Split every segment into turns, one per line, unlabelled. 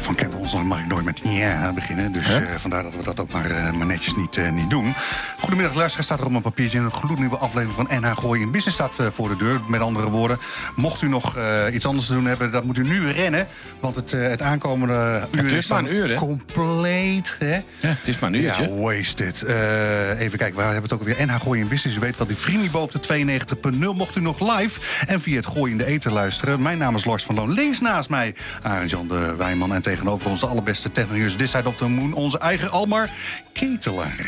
Van Kent Holzman mag ik nooit met ja beginnen. Dus eh, vandaar dat we dat ook maar, eh, maar netjes niet, eh, niet doen. Goedemiddag, luisteraars. Staat er op mijn papiertje een gloednieuwe aflevering van NH Gooi in Business staat eh, voor de deur. Met andere woorden, mocht u nog eh, iets anders te doen hebben, dat moet u nu rennen. Want het, eh, het aankomende uur
duurt
is dan
maar een uur, hè?
compleet. Hè?
Ja, het is maar een uurtje.
Ja, wasted. Eh, even kijken, we hebben het ook weer NH Gooi in Business. U weet wat die Vrimibo op de 92.0. Mocht u nog live en via het Gooi in de Eten luisteren. Mijn naam is Lars van Loon. Links naast mij Arend-Jan de Wijnman. En tegenover ons de allerbeste technieurs This Side of the Moon. Onze eigen Almar Ketelaar.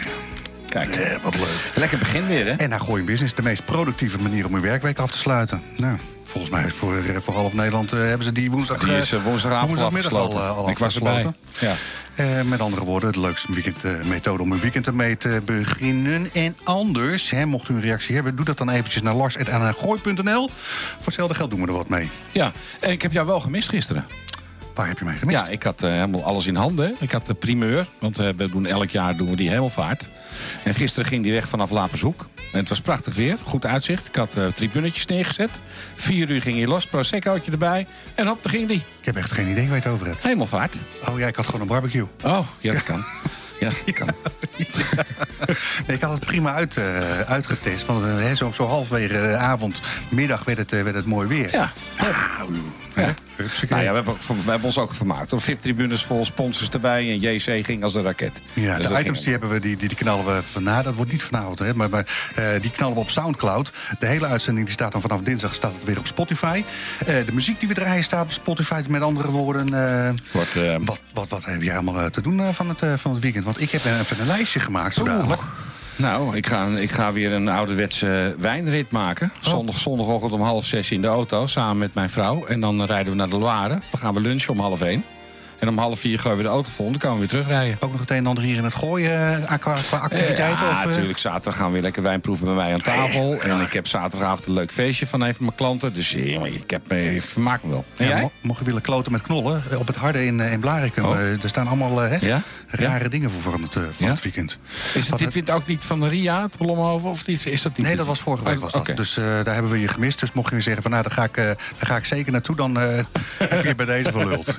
Kijk,
wat leuk.
lekker begin weer, hè?
NH Gooi in Business, de meest productieve manier om uw werkweek af te sluiten. Nou... Volgens mij voor, eh, voor half Nederland eh, hebben ze die woensdag
Die is eh,
eh,
woensdagavond al
woensdagmiddag
afgesloten.
Al, eh, al
ik was erbij.
afgesloten.
Ja.
Eh, met andere woorden, de leukste weekend, eh, methode om een weekend ermee te beginnen. En anders, hè, mocht u een reactie hebben, doe dat dan eventjes naar lars.anagooi.nl. Voor hetzelfde geld doen we er wat mee.
ja, en ik heb jou wel gemist gisteren.
Waar heb je mij gemist?
Ja, ik had eh, helemaal alles in handen. Ik had de primeur, want eh, we doen elk jaar doen we die hemelvaart. En gisteren ging die weg vanaf Lapershoek. En het was prachtig weer, goed uitzicht. Ik had eh tribunetjes neergezet. Vier uur ging hij los, proseccootje erbij. En hop, daar ging die.
Ik heb echt geen idee waar je het over hebt.
Hemelvaart.
Oh ja, ik had gewoon een barbecue.
Oh, ja, dat kan. Ja, dat kan.
Nee, ik had het prima uit, eh, uitgetest. Want eh, hè, zo, zo halfwege de avond, middag werd het, eh, werd het mooi weer.
Ja.
Hè?
ja.
Hupsakee.
Nou ja, we hebben, ook, we hebben ons ook vermaakt. VIP-tribunes vol, sponsors erbij en JC ging als een raket.
Ja,
Dus
de
dat
items
ging-
die hebben we, die, die, die knallen we vanavond. Dat wordt niet vanavond, hè, maar, maar eh, die knallen we op Soundcloud. De hele uitzending die staat dan vanaf dinsdag staat het weer op Spotify. Eh, de muziek die we draaien staat op Spotify. Met andere woorden, eh,
Wordt, eh,
wat, wat, wat heb jij allemaal eh, te doen eh, van, het, eh, van het weekend? Want ik heb eh, even een lijstje gemaakt zo dadelijk.
Nou, ik ga, ik ga weer een ouderwetse wijnrit maken.
Oh.
Zondag, zondagochtend om half zes in de auto, samen met mijn vrouw. En dan eh, rijden we naar de Loire. Dan gaan we lunchen om half één. En om half vier gaan we de auto vol en dan komen we weer terugrijden.
Ook nog het een en ander hier in het gooien eh, qua, qua activiteiten.
Ja,
of, eh,
natuurlijk. Zaterdag gaan we weer lekker wijn proeven bij mij aan tafel. En ik heb zaterdagavond een leuk feestje van een van mijn klanten. Dus eh, jongen, ik, heb, me- ik vermaak me wel. En
Ja,
jij?
mo- mocht je willen kloten met knollen, eh, op het harde in, eh, in Blarikum.
Oh.
eh, er staan allemaal eh, hè,
Ja?
rare dingen voor van het, eh, van
Ja?
het weekend.
Is het,
Wat
dit vindt ook niet van Ria, het Blomhoven? Of niet? Is dat niet
Nee, dat was vorige week. Was dat.
Oh, Oké.
Dus eh, daar hebben we je gemist. Dus mocht je weer zeggen van nou, daar ga ik, eh, daar ga ik zeker naartoe, dan eh, heb je je bij deze verluld.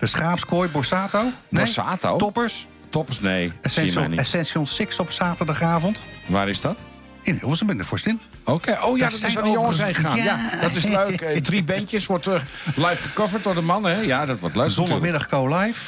de schaapskooi, Borsato.
Borsato?
Toppers.
Toppers, nee. Zie je mij
Essential,
niet.
Essential 6 op zaterdagavond.
Waar is dat?
In Hilversum in de Forstin.
Oké, oh ja,
Daar
dat
zijn
is waar die jongens heen
overigens-
gaan. Ja.
Ja.
dat is leuk. Eh, Drie bandjes wordt eh, live gecoverd door de mannen. Hè? Ja, dat wordt leuk natuurlijk.
Zondagmiddag co-live.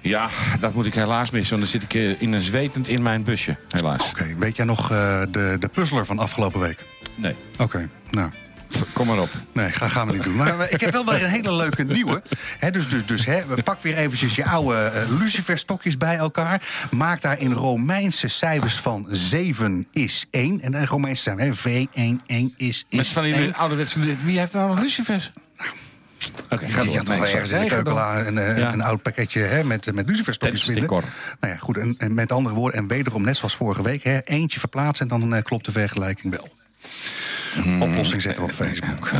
Ja, dat moet ik helaas missen, want dan zit ik eh, in een zwetend in mijn busje. Helaas.
Oké, weet jij nog eh, de, de puzzeler van afgelopen week?
Nee,
Oké, nou.
Pff, kom maar op.
Nee, ga, gaan we niet doen. Maar eh, ik heb wel weer een hele leuke nieuwe. Hè, dus dus, dus hè, we pak weer eventjes je oude eh, luciferstokjes bij elkaar. Maak daar in Romeinse cijfers van 7 is 1. En dan Romeinse cijfers, hè, V11 is,
Met
is
van
1.
die ouderwetse... Wie heeft nou nog lucifers? Oké, ga
Je
door.
had toch
Nee,
wel
ik
ergens in
zeg,
de
nee, ga door.
keukelaar een, eh,
Ja.
een oud pakketje hè, met, eh, met luciferstokjes vinden.
Tennisdecor.
Nou ja, goed. En, en met andere woorden, en wederom net zoals vorige week... Hè, eentje verplaatsen en dan eh, klopt de vergelijking wel.
Hmm.
Oplossing zetten we op Facebook.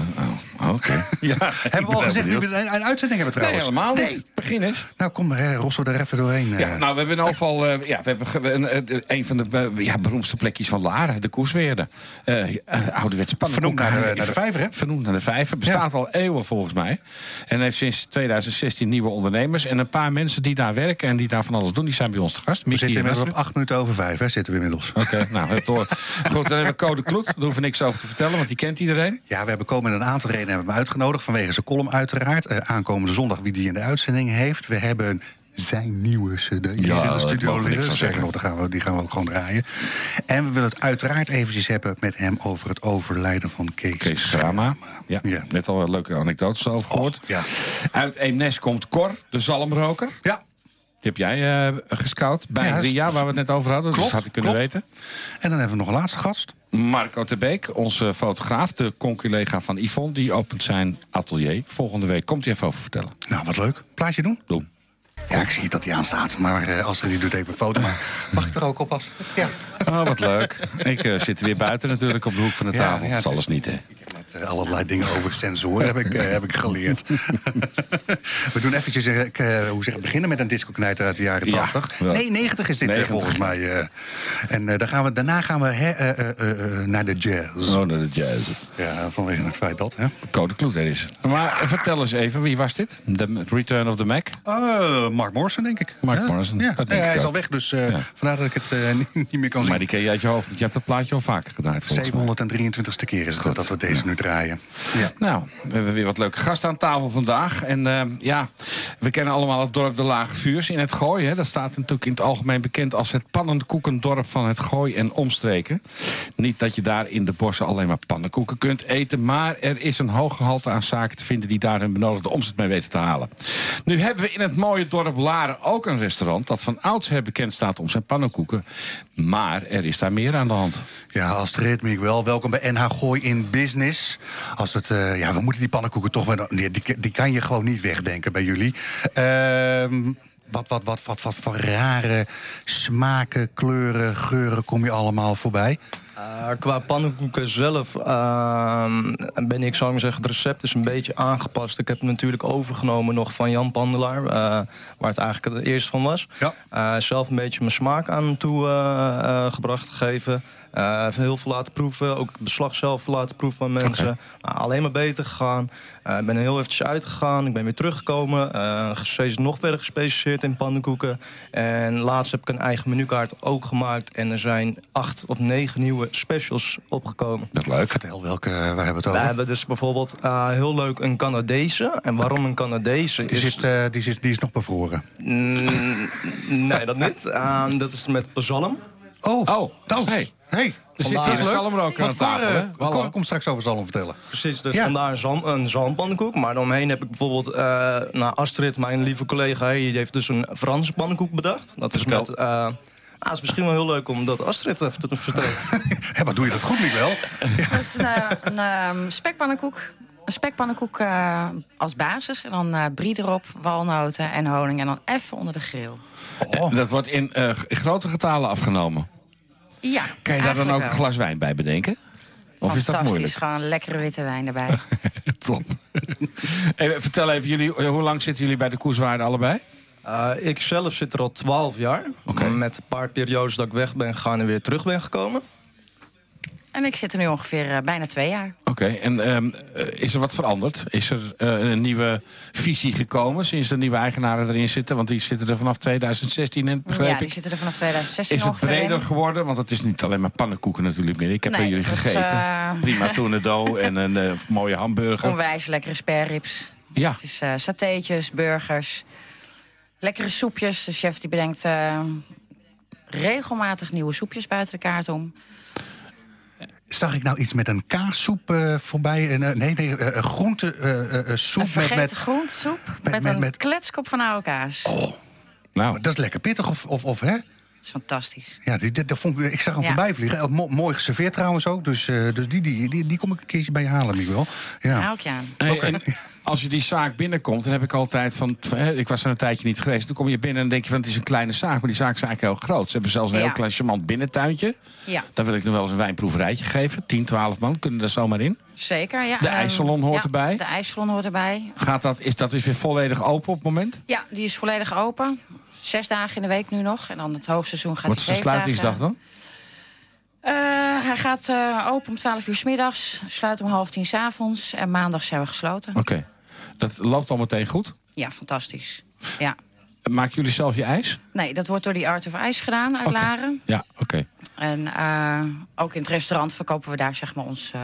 Oh, Oké. Ja,
Hebben we al gezegd wie we een, een uitzending hebben
Nee,
trouwens?
helemaal niet. Begin eens.
Nou, kom, hè, rossen we er even doorheen. eh.
Ja, nou, we hebben in ieder geval eh, ja, we hebben ge- een, eh, een van de eh, ja, beroemdste plekjes van Laren, de Koesweerde. Eh eh, ouderwetse pannenkoeken.
Vernoemd naar de- naar de vijver, hè?
Vernoemd naar de vijver. Bestaat al eeuwen volgens mij. En heeft sinds 2016 nieuwe ondernemers. En een paar mensen die daar werken en die daar van alles doen, die zijn bij ons te gast.
We
Mickey
zitten
en
inmiddels op
Astrid.
acht minuten over vijf, hè, zitten we inmiddels.
Oké, nou, het door. Goed, dan hebben we Code Kloet. Daar hoeven we niks over te vertellen, want die kent iedereen.
Ja, we hebben komen een aantal redenen hebben we hem uitgenodigd. Vanwege zijn column uiteraard. Eh, aankomende zondag wie die in de uitzending heeft. We hebben zijn nieuwe cd hier
Ja,
in de
dat
studio
mogen we niks
liggen.
van
Sterker
zeggen.
nog, daar gaan we, die gaan we ook gewoon draaien. En we willen het uiteraard eventjes hebben met hem over het overlijden van Kees.
Kees Schrama. Ja,
Ja.
net al een leuke anekdotes over gehoord.
Oh, ja.
Uit Eemnes komt Cor, de zalmroker.
Ja,
Die heb jij eh gescout bij
Ja,
Ria, waar we het net over hadden.
klopt,
dus dat had ik kunnen
klopt.
weten.
en dan hebben we nog een laatste gast.
Marco de Beek, onze fotograaf, de conculega van Yvonne... die opent zijn atelier. Volgende week komt hij even over vertellen.
Nou, wat leuk. Plaatje doen?
Doe.
Ja, ik zie dat hij aanstaat. Maar eh Astrid die doet even een foto. Maar mag ik er ook op, Astrid? Ja.
Oh, wat leuk. Ik eh, zit weer buiten natuurlijk op de hoek van de
Ja,
tafel.
ja,
dat is
het
alles
is-
niet, hè?
Met eh, allerlei dingen over sensoren heb ik, eh, heb ik geleerd. We doen eventjes, eh, ik, eh, hoe zeg ik, beginnen met een disco-knijter uit de jaren
Ja,
80.
wel.
nee, 90 is dit eh,
90.
volgens mij. eh. en eh, daar gaan we, daarna gaan we hè, eh, eh, eh, eh, naar de jazz.
Oh, naar de jazz.
Ja, vanwege het feit dat, hè.
Code Kloet, er is. Maar eh, vertel eens even, wie was dit? The Return of the Mac?
Eh, Mark Morrison, denk ik.
Mark
Ja,
Morrison,
Ja.
dat denk
Nee,
ik
hij is
ook.
al weg, dus eh,
Ja.
vandaar dat ik het eh, niet- niet meer kan
Maar
zien.
die ken je uit je hoofd, want je hebt dat plaatje al vaker gedraaid volgens mij.
723ste keer is het dat we deze nu draaien. Ja.
Nou, we hebben weer wat leuke gasten aan tafel vandaag. En eh, ja, we kennen allemaal het dorp De Lage Vuurs in het Gooi. Hè. Dat staat natuurlijk in het algemeen bekend als het pannenkoekendorp van het Gooi en omstreken. Niet dat je daar in de bossen alleen maar pannenkoeken kunt eten... maar er is een hoog gehalte aan zaken te vinden die daar hun benodigde omzet mee weten te halen. Nu hebben we in het mooie dorp Laren ook een restaurant... dat van oudsher bekend staat om zijn pannenkoeken. Maar er is daar meer aan de hand.
Ja, Astrid, Miek wel. Welkom bij NH Gooi in Business. Als het, eh, ja, we moeten die pannenkoeken toch wel... Nee, die, die kan je gewoon niet wegdenken bij jullie. Ehm, wat, wat, wat, wat, wat voor rare smaken, kleuren, geuren kom je allemaal voorbij?
Eh, qua pannenkoeken zelf ehm, ben ik, zou ik maar zeggen, het recept is een beetje aangepast. Ik heb het natuurlijk overgenomen nog van Jan Pandelaar, eh, waar het eigenlijk het eerst van was.
Ja.
Eh, zelf een beetje mijn smaak aan toegebracht gebracht, gegeven. Eh, even heel veel laten proeven, ook het beslag zelf laten proeven van mensen. Nou, alleen maar beter gegaan. Eh, ik ben heel eventjes uitgegaan, ik ben weer teruggekomen. eh, steeds nog verder gespecialiseerd in pannenkoeken. En laatst heb ik een eigen menukaart ook gemaakt. En er zijn acht of negen nieuwe specials opgekomen.
Dat is leuk.
Vertel welke, eh, waar hebben we
We
het over?
hebben dus bijvoorbeeld eh, heel leuk een Canadese. En waarom een Canadese?
Die,
dus-
zit, eh, die, zit, die is nog bevroren.
Mm, nee, dat niet. Eh, dat is met zalm.
Oh,
Oh, hey.
hey.
Er zit
Vandaar-
hier een
Leuk.
zalmroker aan
Want daar,
tafel,
eh,
hè? Hallo.
Kom, kom straks over zalm vertellen.
Precies, dus
Ja.
vandaar zalm, een zalmpannenkoek. Maar daaromheen heb ik bijvoorbeeld eh nou, Astrid, mijn lieve collega, hey, die heeft dus een Franse pannenkoek bedacht. Dat is
Vertel.
met. eh ah, is misschien wel heel leuk om dat Astrid even te vertellen.
Hé, maar doe je dat goed, Miek wel?
Dat is een, eh, een ehm, spekpannenkoek. Een spekpannenkoek eh, als basis. En dan eh brie erop, walnoten en honing. En dan even onder de grill. Oh.
En Dat wordt in eh, g- grote getalen afgenomen.
Ja,
Kan je daar dan ook
eigenlijk
een
wel.
glas wijn bij bedenken? Of is dat
Fantastisch,
moeilijk?
gewoon lekkere witte wijn erbij.
Top. Hey, vertel even, jullie, eh, hoe lang zitten jullie bij de koerswaarde allebei?
Eh, ik zelf zit er al 12 jaar.
Oké.
Met een paar periodes dat ik weg ben gegaan en weer terug ben gekomen.
en ik zit er nu ongeveer eh, bijna twee jaar.
Oké, en ehm, eh, is er wat veranderd? Is er eh, een nieuwe visie gekomen sinds de nieuwe eigenaren erin zitten? Want die zitten er vanaf 2016 in, begreep
ja,
ik.
die zitten er vanaf 2016
Is het
ongeveer in.
breder geworden? Want het is niet alleen maar pannenkoeken natuurlijk meer. Ik heb
Nee,
bij jullie
dat is,
gegeten.
eh,
Prima tournedo en een eh, mooie hamburger.
Onwijs lekkere spareribs.
Ja.
Het is eh satéetjes, burgers, lekkere soepjes. De chef die bedenkt eh, regelmatig nieuwe soepjes buiten de kaart om.
Zag ik nou iets met een kaassoep eh, voorbij? En, eh, nee, nee, eh, eh, groente eh, eh, eh, soep
Een
met,
vergeten
met...
groentesoep met,
met-
een
met-
kletskop van oude kaas.
Oh. Nou,
Dat is lekker pittig, of, of, of hè?
Dat is fantastisch.
Ja, die, dat- dat vond ik, ik zag hem
Ja.
voorbij vliegen. Eh, mo- mooi geserveerd trouwens ook. Dus, eh, dus die, die, die, die kom ik een keertje bij je halen, Miguel. Ja.
Daar hou ik je aan.
Hey, en Als je die zaak binnenkomt, dan heb ik altijd van. tf, hè, Ik was er een tijdje niet geweest. Dan kom je binnen en denk je van het is een kleine zaak, maar die zaak is eigenlijk heel groot. Ze hebben zelfs een
Ja.
heel klein charmant binnentuintje.
Ja,
Daar wil ik nog wel eens een wijnproeverijtje geven. 10, 12 man kunnen daar zomaar in.
zeker. Ja.
De
Ehm,
ijssalon hoort
ja,
erbij.
De ijssalon hoort erbij.
Gaat dat, is dat dus weer volledig open op het moment?
Ja, die is volledig open. Zes dagen in de week nu nog. En dan het hoogseizoen gaat
Wat is
hij
de
zeven
sluitingsdag dan?
dagen. Eh, hij gaat eh, open om 12 uur 's middags, sluit om half tien 's avonds en maandag zijn we gesloten.
Oké. Dat loopt al meteen goed.
Ja, fantastisch. Ja.
Maken jullie zelf je ijs?
Nee, dat wordt door die Art of Ice gedaan uit
Oké.
Laren.
Ja, oké.
En eh, ook in het restaurant verkopen we daar zeg maar ons eh,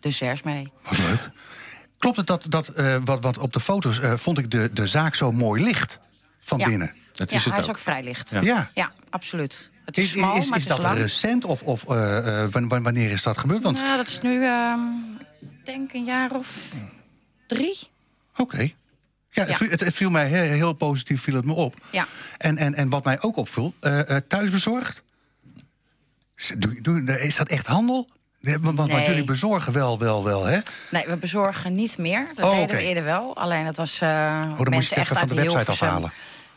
desserts mee.
Klopt het dat, dat eh, wat, wat op de foto's eh, vond ik de, de zaak zo mooi licht van
Ja.
binnen?
Dat
ja,
is het
hij
ook.
is ook vrij licht.
Ja.
Ja.
Ja, absoluut. Het is, smal, maar het is,
dat
lang.
recent of, of eh, eh, wan- wan- wanneer is dat gebeurd? Want,
Nou, dat is nu, ehm, ik denk een jaar of drie.
oké. Ja, het
Ja.
viel- Het, het viel mij he- heel, positief viel het me op.
Ja.
En, en, en wat mij ook opviel, eh, eh, thuisbezorgd. Is- Doe, doe, is dat echt handel? Want, want- want
Nee.
jullie bezorgen wel, wel, wel, hè?
Nee, we bezorgen niet meer. Dat
Oh,
deden
oké.
we eerder wel. Alleen dat was eh
Oh, dan moet je het
mensen
even
echt
van
uit
de website
Hilversum.
afhalen.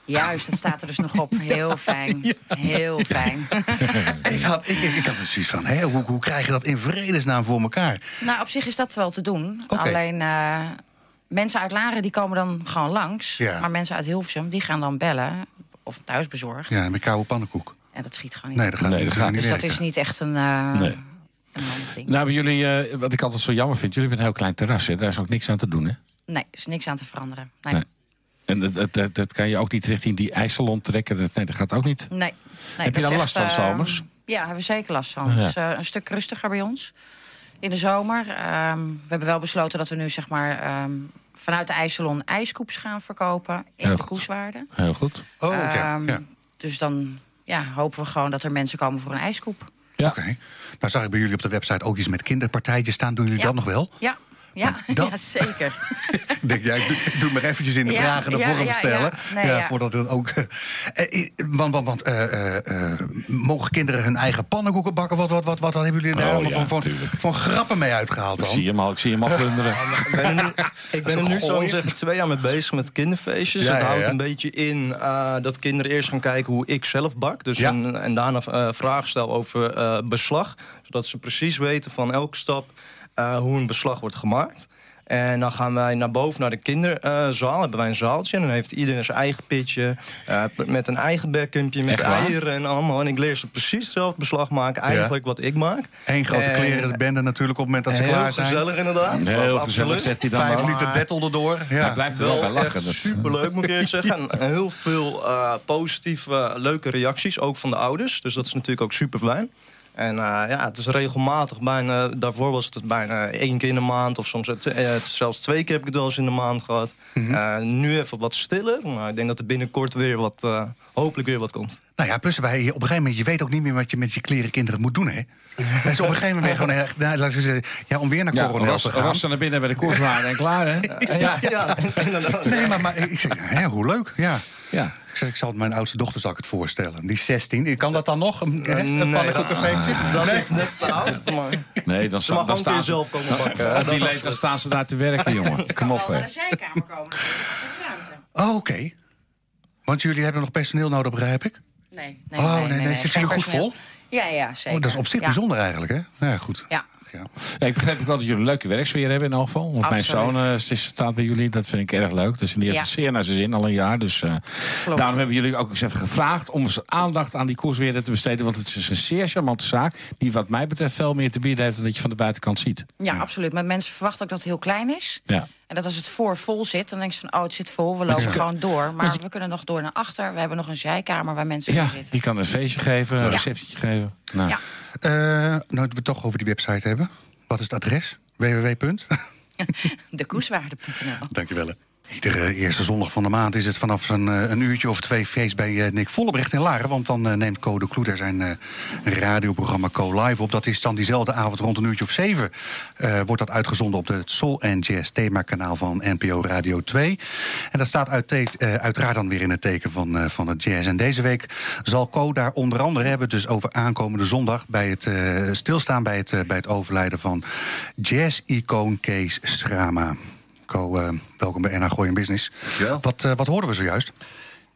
Juist, dat staat er dus nog op. Heel fijn. Heel fijn.
Ik had, ik, ik had er zoiets van, hè, hoe, hoe krijg je dat in vredesnaam voor elkaar?
Nou, op zich is dat wel te doen.
Oké.
Alleen eh, mensen uit Laren die komen dan gewoon langs.
Ja.
Maar mensen uit Hilversum die gaan dan bellen. Of thuisbezorgd.
Ja, met koude pannenkoek.
En dat schiet gewoon niet.
Nee, dat gaat,
Nee, dat gaat
niet
dus dat
werken.
is niet echt een, eh,
Nee.
een handig ding.
Nou, hebben jullie, eh, wat ik altijd zo jammer vind, jullie hebben een heel klein terras. Hè? Daar is ook niks aan te doen, hè?
Nee, is niks aan te veranderen. Nee.
Nee. En dat, dat, dat, dat kan je ook niet richting die ijssalon trekken. Dat, nee, dat gaat ook niet.
Nee. nee
Heb je
dat
daar
is
last
echt,
van,
eh,
zomers?
Ja, hebben we zeker last van.
Ja.
Het is eh, een stuk rustiger bij ons in de zomer. Ehm, we hebben wel besloten dat we nu zeg maar, ehm, vanuit de ijssalon ijskoeps gaan verkopen in
Heel
de
goed.
Koeswaarden.
Heel goed.
Oh, oké.
Ehm,
ja.
Dus dan ja, hopen we gewoon dat er mensen komen voor een ijskoep.
Ja.
Oké. Nou zag ik bij jullie op de website ook iets met kinderpartijtjes staan. Doen jullie
Ja.
dat nog wel? Oh,
Ja, ja,
dat-
ja zeker.
Ik Denk jij, doe, doe maar eventjes in de
Ja,
vragen de
ja,
vorm
ja,
stellen.
ja. Nee, ja.
Voordat het ook... Eh, eh, want want, want eh, eh, eh, mogen kinderen hun eigen pannenkoeken bakken? Wat, wat, wat, wat, wat hebben jullie daar
Oh,
allemaal
ja,
van, van,
tuurlijk.
van grappen mee uitgehaald
Ik
dan?
zie hem al, ik zie hem al plunderen.
Ik ben er nu, ik ben er
gooien.
nu zo zeggen twee jaar mee bezig met kinderfeestjes.
Ja,
het
ja,
houdt
ja.
een beetje in eh, dat kinderen eerst gaan kijken hoe ik zelf bak. Dus
Ja.
en, en daarna eh, vragen stel over eh, beslag. Zodat ze precies weten van elke stap eh, hoe een beslag wordt gemaakt. En dan gaan wij naar boven naar de kinderzaal. Hebben wij een zaaltje. En dan heeft iedereen zijn eigen pitje. eh, p- met een eigen bekkumpje. Met
Echt waar?
eieren en allemaal. En ik leer ze precies zelf beslag maken. Eigenlijk wat ik maak.
Eén grote
Eh,
En-
kleren bende natuurlijk op het moment dat ze
Heel
klaar zijn.
gezellig inderdaad.
Heel
Absoluut.
gezellig zet hij dan
Vijf
maar.
liter dettel erdoor.
Hij
Ja.
blijft er wel bij
Wel
lachen.
echt
Dat-
superleuk, moet ik eerlijk zeggen. En heel veel eh, positieve, leuke reacties, ook van de ouders. Dus dat is natuurlijk ook super fijn. En eh, ja, het is regelmatig, bijna, daarvoor was het bijna één keer in de maand... of soms het- eh, zelfs twee keer heb ik het wel eens in de maand gehad.
Mhm.
Eh, nu even wat stiller, maar ik denk dat er binnenkort weer wat... eh, hopelijk weer wat komt.
Nou ja, plus erbij, op een gegeven moment, je weet ook niet meer wat je met je kleren kinderen moet doen, hè? Dus op een gegeven moment gewoon echt, nou, laten we zeggen, ja, om weer naar
Ja,
coronel
ras,
te gaan.
rassen naar binnen bij de koerswaarde en klaar, hè?
ja, ja, inderdaad.
Nee, maar, maar ik zeg, hè, hoe leuk, ja.
Ja.
Ik, zeg, ik zal het mijn oudste dochter zal ik het voorstellen. Die is 16. Kan dat dan nog? Een, hè,
eh,
een pannenkoekenfeestje?
Ah, dat is net te oud, maar...
Nee, dan,
Ze
sta-
mag
dan
ook
staan
weer
ze...
zelf komen bakken.
Op die leeftijd staan ze daar te werken, jongen. Kom op,
wel
hè.
naar de zijkamer komen. dat is echt ruimte.
Oh, oké. Want jullie hebben nog personeel nodig, begrijp ik?
Nee, nee,
Oh, nee, nee, zitten
Geen
jullie goed
personeel.
vol?
Ja, ja, zeker.
Oh, dat is op zich
Ja.
bijzonder eigenlijk, hè? Nou ja, goed.
Ja.
Ja.
Ja, ik begrijp ook wel dat jullie een leuke werksfeer hebben in elk geval. Want
Absoluut.
mijn zoon eh, is- staat bij jullie. Dat vind ik erg leuk. Dus die heeft
Ja.
het zeer naar zijn zin al een jaar. Dus eh, daarom hebben jullie ook eens even gevraagd om eens aandacht aan die koersweerder te besteden. Want het is een zeer charmante zaak. Die wat mij betreft veel meer te bieden heeft dan dat je van de buitenkant ziet.
Ja, absoluut. Maar mensen verwachten ook dat het heel klein is.
Ja.
En dat als het voor vol zit, dan denken ze van... oh, het zit vol, we lopen gewoon door. Maar we kunnen nog door naar achter. We hebben nog een zijkamer waar mensen
Ja,
kunnen zitten.
je kan een feestje geven, een receptietje geven. Nou,
Ja.
Eh, nou, dat we het toch over die website hebben. Wat is het adres? www.
De nou. koeswaarde.nl.
Dankjewel. hè. Iedere eerste zondag van de maand is het vanaf een, eh, een uurtje of twee feest bij eh, Nick Vollebrecht in Laren. Want dan eh, neemt Co de Kloeder zijn eh, radioprogramma Co Live op. Dat is dan diezelfde avond rond een uurtje of zeven. eh, wordt dat uitgezonden op het Soul and Jazz themakanaal van NPO Radio 2. En dat staat uit te- eh, uiteraard dan weer in het teken van, eh, van het jazz. En deze week zal Co daar onder andere hebben, dus over aankomende zondag... bij het eh, stilstaan bij het, eh, bij het overlijden van jazz-icoon Kees Schrama. Co, eh, welkom bij NH Gooi in Business.
Dankjewel.
Wat, eh, wat hoorden we zojuist?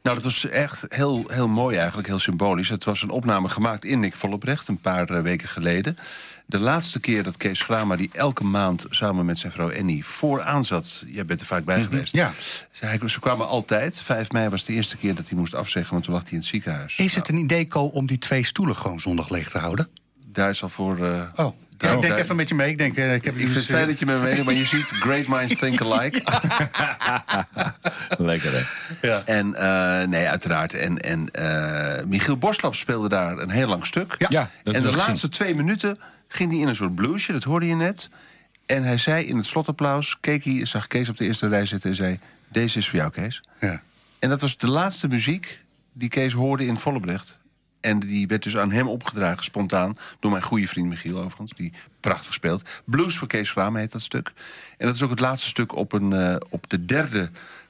Nou, dat was echt heel, heel mooi eigenlijk, heel symbolisch. Het was een opname gemaakt in Nick Vollebrecht een paar eh, weken geleden. De laatste keer dat Kees Grama, die elke maand samen met zijn vrouw Annie vooraan zat... jij bent er vaak bij geweest.
Mhm, ja.
Ze, hij- ze kwamen altijd. 5 mei was de eerste keer dat hij moest afzeggen, want toen lag hij in het ziekenhuis. Nou,
Is het een idee, Co, om die twee stoelen gewoon zondag leeg te houden?
Oh.
Daar is al voor... eh,
Oh,
daar-
ik denk
daar-
even met je mee. Ik, denk, eh, ik, heb
Ik vind het
iets,
fijn
eh,
dat je me meeneemt, maar je ziet great minds think alike.
Lekker, hè?
En eh, nee, uiteraard. En, en eh, Michiel Borslap speelde daar een heel lang stuk.
Ja, dat wil
en de
ik
laatste twee minuten ging hij in een soort bluesje, dat hoorde je net. En hij zei in het slotapplaus, keek hij, zag Kees op de eerste rij zitten en zei... Deze is voor jou, Kees.
Ja.
En dat was de laatste muziek die Kees hoorde in Vollebrecht. En die werd dus aan hem opgedragen, spontaan. Door mijn goede vriend Michiel, overigens. Die prachtig speelt. Blues voor Kees Grame heet dat stuk. En dat is ook het laatste stuk op, een, eh, op de derde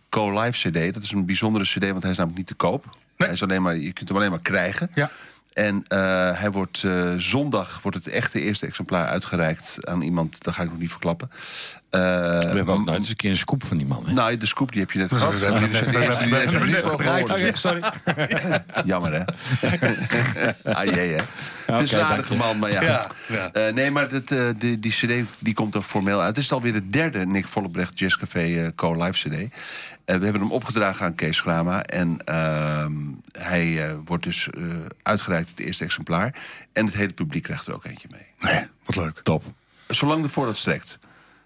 Co Live CD. Dat is een bijzondere CD, want hij is namelijk niet te koop. Hij is alleen maar, je kunt hem alleen maar krijgen.
Ja.
En eh, hij wordt eh, zondag wordt het echte eerste exemplaar uitgereikt aan iemand. Dat ga ik nog niet verklappen. Eh,
We hebben ook nooit eens een keer een scoop van die man. Hè?
nou, de scoop die heb je net gehad.
we hebben net-
De
we
eerste die
hebben
deze
net
niet
gedraaid.
gehoord.
Oké, Oh sorry.
Jammer, hè? ah, jee, hè? het is een
dank
aardige
je.
man, maar ja.
Ja, ja.
Eh, nee, maar dat, eh, die, die cd die komt er formeel uit. Het is alweer de derde Nick Vollebrecht Jazz Café eh, Co-Live cd. Eh, we hebben hem opgedragen aan Kees Grama. En ehm, hij eh, wordt dus eh, uitgereikt, het eerste exemplaar. En het hele publiek krijgt er ook eentje mee.
Nee, wat leuk.
Top.
Zolang de voorraad strekt.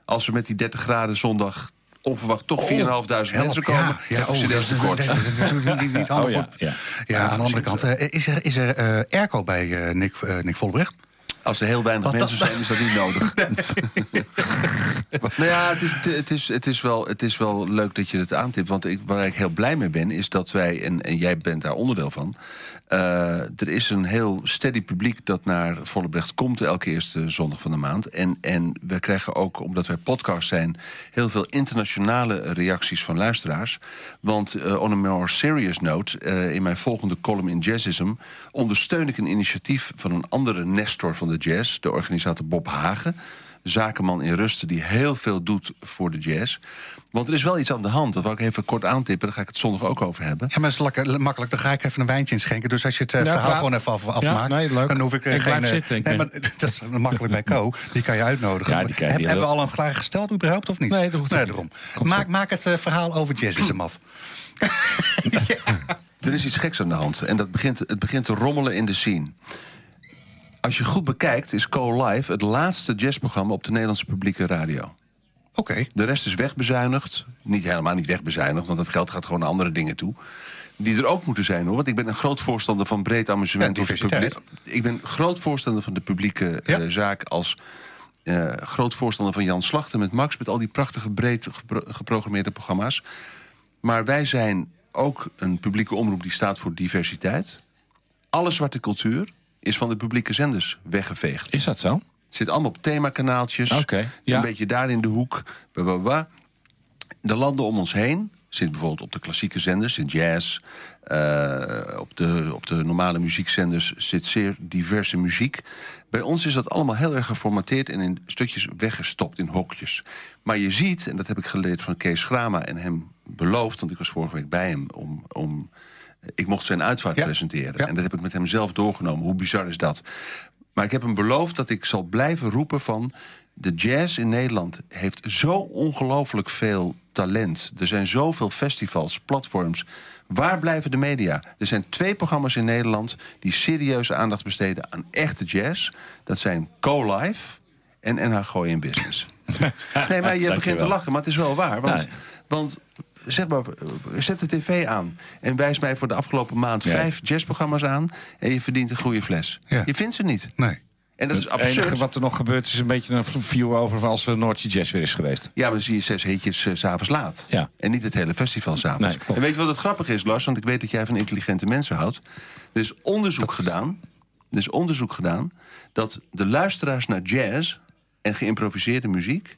Als we met die 30 graden zondag onverwacht toch 4.500 Oh, mensen komen...
Oh, Ja, ja,
heb
oh,
ik
dat
cd's
is
tekort.
dat is natuurlijk niet, niet handig.
Oh, ja,
voor-
ja.
Ja, aan de andere kant. eh, is er, is er eh, airco bij eh, Nick, eh, Nick Vollebrecht?
Als er heel weinig mensen zijn, is dat niet nodig. nou ja, het is, het, is, het, is wel, het is wel leuk dat je het aantipt. Want ik, waar ik heel blij mee ben, is dat wij, en, en jij bent daar onderdeel van... eh, er is een heel steady publiek dat naar Vollebrecht komt... elke eerste zondag van de maand. En, en we krijgen ook, omdat wij podcast zijn... heel veel internationale reacties van luisteraars. Want eh, on a more serious note... eh, in mijn volgende column in Jazzism... ondersteun ik een initiatief van een andere Nestor van de jazz... de organisator Bob Hagen zakenman in rusten die heel veel doet voor de jazz. Want er is wel iets aan de hand. Dat wil ik even kort aantippen. Daar ga ik het zondag ook over hebben.
Ja, maar dat is lekker, makkelijk. Dan ga ik even een wijntje inschenken. Dus als je het eh,
Ja,
verhaal
klaar.
gewoon even af,
Ja,
afmaakt,
nee, leuk.
dan hoef ik eh,
Ik
geen...
blijf
eh,
zitten, ik
nee,
ben-
maar, dat is makkelijk bij Co. Die kan je uitnodigen.
Ja, die kan je-
Heb-
die-
hebben we al een vraag gesteld überhaupt of niet?
Nee, dat hoeft
nee,
niet.
daarom. Maak, maak het eh, verhaal over jazz is hem af.
Er is iets geks aan de hand. En dat begint, het begint te rommelen in de scene. Als je goed bekijkt is Co Live het laatste jazzprogramma... op de Nederlandse publieke radio.
Oké.
De rest is wegbezuinigd. Niet helemaal niet wegbezuinigd, want dat geld gaat gewoon naar andere dingen toe. Die er ook moeten zijn hoor. Want ik ben een groot voorstander van breed amusement.
Ja,
op het
diversiteit.
publiek. Ik ben groot voorstander van de publieke
Ja.
eh, zaak. Als eh, groot voorstander van Jan Slachter met Max. Met al die prachtige breed gepro- geprogrammeerde programma's. Maar wij zijn ook een publieke omroep die staat voor diversiteit. Alle zwarte cultuur is van de publieke zenders weggeveegd.
Is dat zo?
Het zit allemaal op themakanaaltjes.
Oké, ja.
Een beetje daar in de hoek. Blah, blah, blah. De landen om ons heen zit bijvoorbeeld op de klassieke zenders, in jazz. eh, op, de, op de normale muziekzenders zit zeer diverse muziek. Bij ons is dat allemaal heel erg geformateerd en in stukjes weggestopt, in hokjes. Maar je ziet, en dat heb ik geleerd van Kees Grama en hem beloofd... want ik was vorige week bij hem om... om ik mocht zijn uitvaart
Ja,
presenteren.
ja.
En dat heb ik met hem zelf doorgenomen. Hoe bizar is dat? Maar ik heb hem beloofd dat ik zal blijven roepen van... de jazz in Nederland heeft zo ongelooflijk veel talent. Er zijn zoveel festivals, platforms. Waar blijven de media? Er zijn twee programma's in Nederland... die serieuze aandacht besteden aan echte jazz. Dat zijn Co-Live en NH Gooi in Business. nee, maar je
Dankjewel.
begint te lachen, maar het is wel waar. Want,
Nee.
want zeg maar, eh, zet de tv aan... en wijs mij voor de afgelopen maand
Ja.
vijf jazzprogramma's aan... en je verdient een goede fles.
Ja.
Je vindt ze niet.
Nee.
En dat is
Het enige
absurd.
wat er nog gebeurt is een beetje een view over als er Noordje Jazz weer is geweest.
Ja, maar dan zie je zes hitjes eh, 's s'avonds laat.
Ja.
En niet het hele festival s'avonds.
Nee, klopt.
en weet je wat het grappig is, Lars? Want ik weet dat jij van intelligente mensen houdt. Er is onderzoek gedaan. Er is onderzoek gedaan dat de luisteraars naar jazz en geïmproviseerde muziek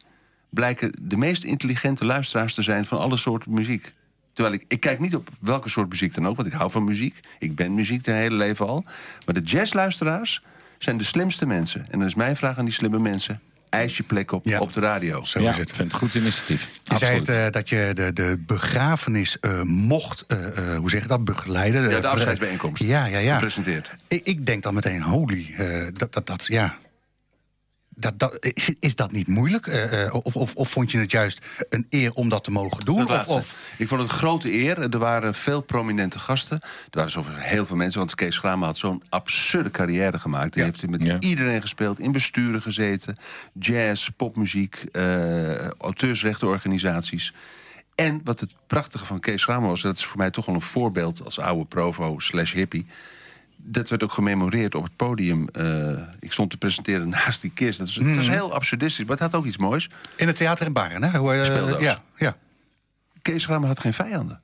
blijken de meest intelligente luisteraars te zijn van alle soorten muziek. Terwijl ik, ik kijk niet op welke soort muziek dan ook, want ik hou van muziek. Ik ben muziek mijn hele leven al. Maar de jazzluisteraars zijn de slimste mensen. En dan is mijn vraag aan die slimme mensen: eis je plek op
Ja.
op de radio.
Zo
ja,
is het.
ik vind het goed initiatief.
Je zei
Absoluut.
het, eh, dat je de, de begrafenis eh, mocht, eh, eh, hoe zeg je dat, begeleiden.
Ja, de
Eh,
afscheidsbijeenkomst.
Ja, ja, ja.
Gepresenteerd.
Ik, ik denk dan meteen, holy, eh, dat, dat, dat, ja. Dat, dat, is, is dat niet moeilijk? Eh, eh, of, of, of vond je het juist een eer om dat te mogen doen?
Dat
Of,
laatste.
of,
Ik vond het een grote eer. Er waren veel prominente gasten. Er waren zoveel, heel veel mensen. Want Kees Grama had zo'n absurde carrière gemaakt. Die heeft met
Ja.
iedereen gespeeld. In besturen gezeten. Jazz, popmuziek, eh auteursrechtenorganisaties. En wat het prachtige van Kees Grama was... en dat is voor mij toch wel een voorbeeld als oude provo slash hippie... dat werd ook gememoreerd op het podium. Eh, ik stond te presenteren naast die kist. Dat was, Het
Mm.
was heel absurdistisch, maar het had ook iets moois.
in het theater in Baren, hè? Hoe, eh,
Speeldoos.
ja, ja.
Kees Grama had geen vijanden.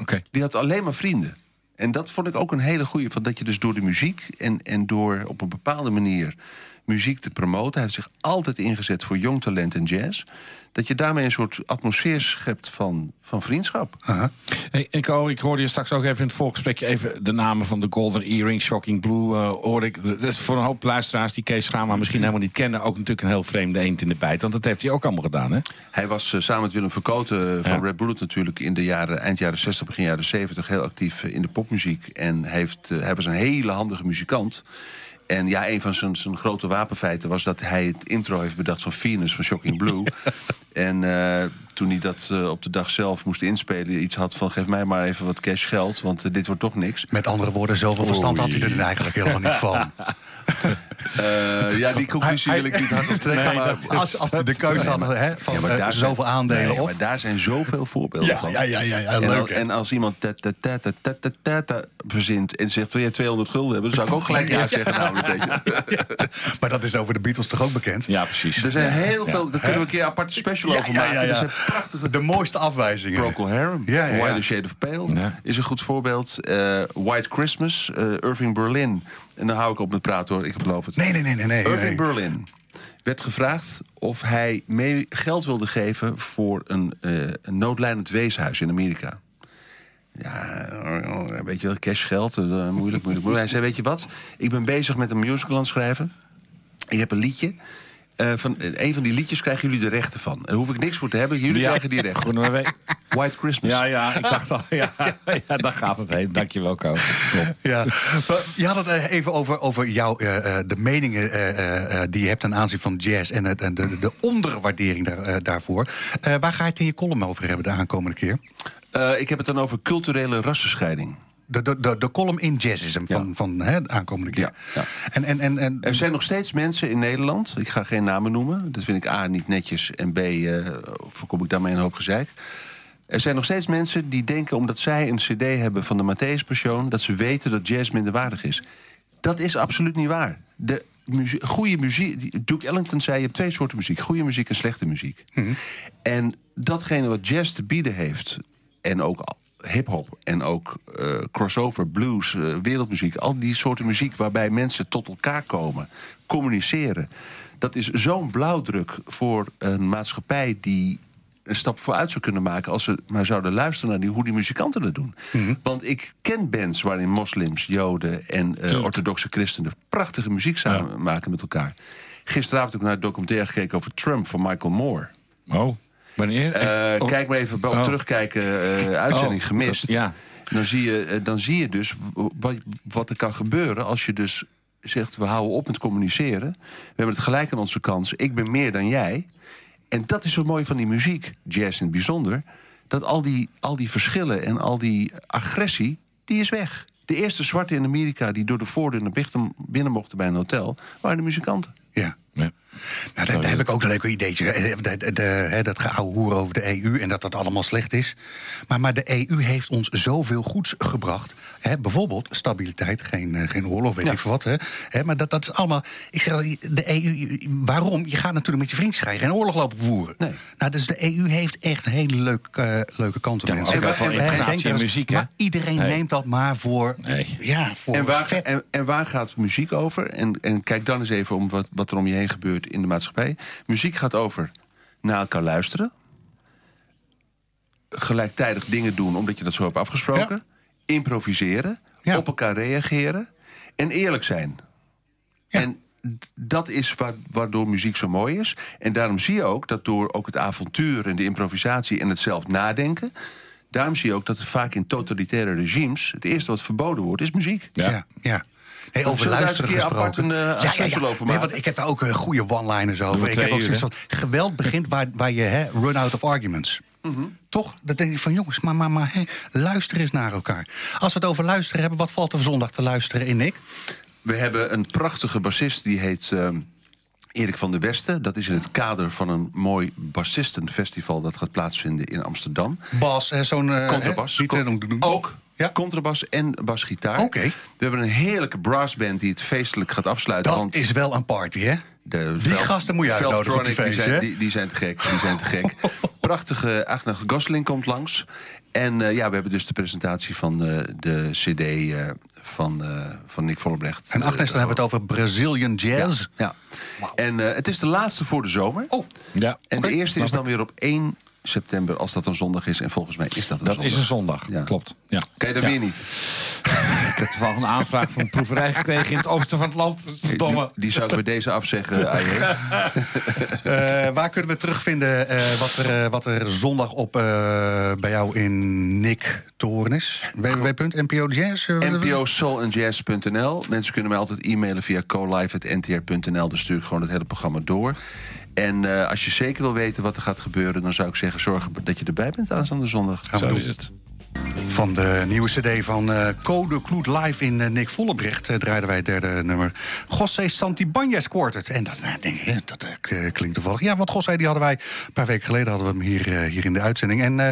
Oké.
die had alleen maar vrienden. En dat vond ik ook een hele goeie. Van dat je dus door de muziek en, en door op een bepaalde manier muziek te promoten. Hij heeft zich altijd ingezet voor jong talent en jazz. Dat je daarmee een soort atmosfeer schept van, van vriendschap.
Hey, ik, hoor- ik hoorde je straks ook even in het voorgesprek even de namen van de Golden Earring, Shocking Blue. eh hoor ik. Dat is voor een hoop luisteraars die Kees Schama misschien helemaal niet kennen. Ook natuurlijk een heel vreemde eend in de bijt. Want dat heeft hij ook allemaal gedaan, hè?
Hij was eh, samen met Willem Verkoten eh, van Red Bullet natuurlijk in de jaren, eind jaren 60, begin jaren 70 heel actief eh, in de popmuziek. En hij heeft, eh, hij was een hele handige muzikant. En ja, een van zijn, zijn grote wapenfeiten was dat hij het intro heeft bedacht van Venus van Shocking Blue. En eh, toen hij dat eh, op de dag zelf moest inspelen, iets had van geef mij maar even wat cash geld, want eh, dit wordt toch niks.
Met andere woorden, zoveel verstand had hij er eigenlijk helemaal niet van.
Eh, ja, die conclusie
Hij-
wil ik niet hardop trekken. maar
Als, als hij de keuze had hè, van
Ja, maar
eh,
daar zijn-
zoveel aandelen
Nee,
of...
maar daar zijn zoveel voorbeelden van.
ja, ja,
En, al- en als iemand ta- ta- ta- ta- ta- ta- ta- ta- verzint en zegt: Wil jij 200 gulden hebben? Dan zou ik ook gelijk ja zeggen. Namelijk, weet je.
Maar dat is over de Beatles toch ook bekend?
Ja, precies.
Er zijn heel veel, daar kunnen we een keer een aparte special
Ja,
over
ja,
maken.
ja, ja.
Er zijn prachtige.
De mooiste afwijzingen.
Procol Harum,
Ja, ja, ja.
Why the Shade of Pale
Ja.
is een goed voorbeeld. Eh, White Christmas, eh, Irving Berlin. En daar hou ik op met praten hoor, ik beloof het.
Nee, nee, nee, nee. nee, nee.
Irving Berlin werd gevraagd of hij mee geld wilde geven voor een, eh, een noodlijnend weeshuis in Amerika. Ja, eh, weet je wel, cashgeld, eh, moeilijk, moeilijk, moeilijk. Hij zei, weet je wat, ik ben bezig met een musical aan het schrijven. Ik heb een liedje. Eh, van, eh, een van die liedjes krijgen jullie de rechten van. Daar hoef ik niks voor te hebben, jullie
Ja.
krijgen die Dus- rechten.
Goed, maar we-
White Christmas.
Ja, ja, ik dacht al. Ja, ja, daar gaat het heen. Dankjewel, Ko. Top.
Ja, maar je had het eh, even over, over jouw, eh, eh, de meningen eh, eh, eh, die je hebt ten aanzien van jazz en het- en de, de onderwaardering daar, eh, daarvoor. Eh, waar ga je het in je column over hebben de aankomende keer?
Eh, ik heb het dan over culturele rassenscheiding.
De, de, de, de column in jazzism van, van hè, de aankomende keer.
Ja, ja.
En, en, en, en
Er zijn nog steeds mensen in Nederland, ik ga geen namen noemen, dat vind ik A niet netjes en B eh, voorkom ik daarmee een hoop gezeik. Er zijn nog steeds mensen die denken omdat zij een CD hebben van de Matthäus Passion, dat ze weten dat jazz minderwaardig is. Dat is absoluut niet waar. De muzie- goede muziek, Duke Ellington zei: je hebt twee soorten muziek, goede muziek en slechte muziek. En datgene wat jazz te bieden heeft, en ook hip-hop en ook eh, crossover, blues, eh, wereldmuziek. Al die soorten muziek waarbij mensen tot elkaar komen, communiceren. Dat is zo'n blauwdruk voor een maatschappij die een stap vooruit zou kunnen maken als ze maar zouden luisteren naar die, hoe die muzikanten dat doen. Want ik ken bands waarin moslims, joden en eh, orthodoxe christenen prachtige muziek samen maken met elkaar. Gisteravond heb ik naar het documentaire gekeken over Trump van Michael Moore.
Oh, wanneer?
Eh,
Echt? Oh.
Kijk maar even bij- op
Oh.
terugkijken, eh, uitzending
Oh,
gemist.
dat- ja.
Dan, zie je, eh, dan zie je dus w- wat, wat er kan gebeuren als je dus zegt... we houden op met communiceren, we hebben het gelijk aan onze kans... ik ben meer dan jij. En dat is zo mooi van die muziek, jazz in het bijzonder... dat al die, al die verschillen en al die agressie, die is weg. De eerste zwarte in Amerika die door de voordeur naar binnen- binnen mochten bij een hotel... waren de muzikanten.
ja.
Ja.
Nou, daar, daar heb ik ook een leuk ideetje. Eh, de- de- de- hè, dat geouwe hoer over de EU en dat dat allemaal slecht is. Maar, maar de EU heeft ons zoveel goeds gebracht. Hè, bijvoorbeeld stabiliteit, geen, eh, geen oorlog, weet ik veel wat. Hè. Hè, maar dat, dat is allemaal... Ik zeg, al, de EU, waarom? Je gaat natuurlijk met je vriendjes ga je geen oorlog lopen voeren.
Nee.
Nou, dus de EU heeft echt een hele leuke, eh, leuke kanten.
Ja, maar
mensen.
ook wel
En-
van
en-
integratie
en denk
en
er eens-
muziek, hè?
Maar iedereen
Nee.
neemt dat maar voor...
Nee.
Ja, voor
En waar,
vet.
en, en waar gaat muziek over? En, en kijk dan eens even om wat, wat er om je heen gebeurt in de maatschappij. Muziek gaat over naar elkaar luisteren. Gelijktijdig dingen doen omdat je dat zo hebt afgesproken. Improviseren.
Ja.
Op elkaar reageren. En eerlijk zijn. En d- dat is wa- waardoor muziek zo mooi is. En daarom zie je ook dat door ook het avontuur en de improvisatie en het zelf nadenken. Daarom zie je ook dat het vaak in totalitaire regimes. het eerste wat verboden wordt, is muziek.
Ja.
Ja. ja. Nee, over
zullen
luisteren
we daar eens een keer
gesproken.
apart een, eh, special over
Nee,
maken?
want ik heb daar ook eh, goede one-liners over.
Over
Ik
twee
heb ook
uur,
zoiets van, geweld begint waar, waar je hè, run out of arguments.
Mhm.
Toch? Dat denk ik van, jongens, maar, maar, maar hè, luister eens naar elkaar. Als we het over luisteren hebben, wat valt er zondag te luisteren in, Nick?
We hebben een prachtige bassist die heet ehm, Erik van der Westen. Dat is in het kader van een mooi bassistenfestival dat gaat plaatsvinden in Amsterdam.
Bas, hè, zo'n... eh,
Contrabas.
hè, die
Con-
te doen- doen.
ook.
Ja.
Contrabas en basgitaar.
Oké.
We hebben een heerlijke brassband die het feestelijk gaat afsluiten.
Dat
want
is wel een party, hè?
de
Die
Vel-
gasten moet je uitnodigen op die
Veltronic,
feestje,
Die
hè?
zijn, die, die zijn te gek, die zijn te gek. Prachtige Agnes Gosling komt langs. En eh, ja, we hebben dus de presentatie van eh, de CD eh, van, eh, van Nick Vollebrecht.
En Agnes, dan hebben we het over Brazilian Jazz.
Ja. En eh, het is de laatste voor de zomer. Oh.
Ja.
En
Oké,
de eerste is
snap
dan weer op 1 september, als dat een zondag is. En volgens mij is dat een
Dat
zondag.
is een zondag,
Ja.
klopt. Ja.
Kan je dat
Ja.
weer niet?
Ik heb toevallig een aanvraag van een proeverij gekregen in het oosten van het land. Verdomme.
Die, die zou ik bij deze afzeggen. Arjen.
Eh, waar kunnen we terugvinden eh, wat, er, eh, wat er zondag op eh, bij jou in Nick Toren is? www.npojazz? eh,
nposoulandjazz.nl. Mensen kunnen mij altijd e-mailen via colive.ntr.nl. Dan stuur ik gewoon het hele programma door. En eh, als je zeker wil weten wat er gaat gebeuren... dan zou ik zeggen, zorg dat je erbij bent aanstaande zondag.
we
Zo
doen.
is het.
Van de nieuwe cd van eh, Code Kloet Live in eh, Nick Vollebrecht... eh, draaiden wij het derde nummer. José Santibanez Quartet. En dat, nou, denk ik, eh, dat eh, klinkt toevallig. Ja, want José die hadden wij... een paar weken geleden hadden we hem hier, eh, hier in de uitzending. En eh,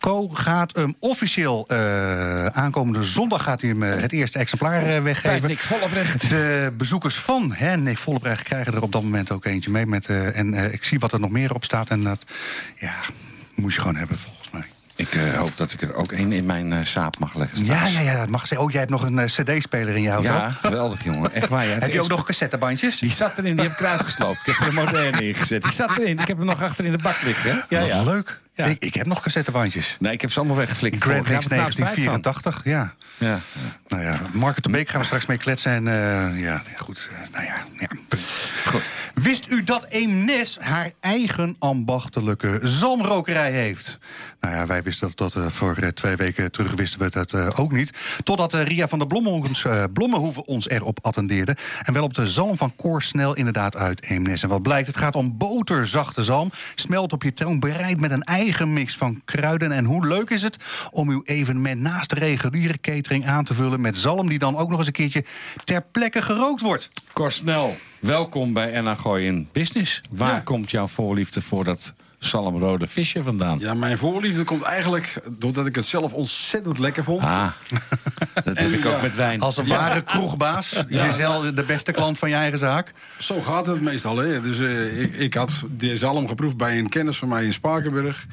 Co gaat hem officieel... eh, aankomende zondag gaat hij hem eh, het eerste exemplaar eh, weggeven.
Bij Nick Vollebrecht.
De bezoekers van hè, Nick Vollebrecht krijgen er op dat moment ook eentje mee. Met, eh, en eh, ik zie wat er nog meer op staat. En dat ja, moet je gewoon hebben volgens mij.
Ik eh, hoop dat ik er ook één in mijn eh, zaad mag leggen.
Ja,
straks.
ja, ja. dat Mag ze. Oh, jij hebt nog een cd-speler in je auto.
Ja, geweldig jongen. Echt waar.
Heb je ook nog cassettebandjes?
Die zat erin, die heb ik eruit gesloopt. Ik heb er een moderne in gezet. Die zat erin, ik heb hem nog achter in de bak liggen. Ja,
Wat
ja.
leuk.
Ja.
Ik, ik heb nog cassettebandjes.
Nee, ik heb ze allemaal weggeflikt.
Grand
Vorig jaar
Prix
heb ik er trouwens spijt van.
1984, ja.
Ja.
Nou ja, Mark de Beek gaan we straks mee kletsen. En eh, ja, goed. eh, nou ja, ja punt.
Goed.
Wist u dat Eemnes haar eigen ambachtelijke zalmrokerij heeft? Nou ja, wij wisten dat, dat eh, voor eh, twee weken terug wisten we dat eh, ook niet. Totdat eh, Ria van der Blommenhoekens, eh, Blommenhoeven ons erop attendeerde. En wel op de zalm van Koorsnel inderdaad uit Eemnes. En wat blijkt, het gaat om boterzachte zalm. Smelt op je tong, bereid met een eigen mix van kruiden. En hoe leuk is het om uw evenement naast de reguliere catering aan te vullen... met zalm die dan ook nog eens een keertje ter plekke gerookt wordt.
Korsnel, welkom bij Enna Gooi in Business. Waar komt jouw voorliefde voor dat zalmrode visje vandaan?
Ja, mijn voorliefde komt eigenlijk doordat ik het zelf ontzettend lekker vond.
Ah, dat heb ik ook
ja,
met wijn.
Als een ware kroegbaas. Giselle, de beste klant van je eigen zaak.
Zo gaat het meestal. Hè? Dus eh, ik, ik had de zalm geproefd bij een kennis van mij in Spakenburg.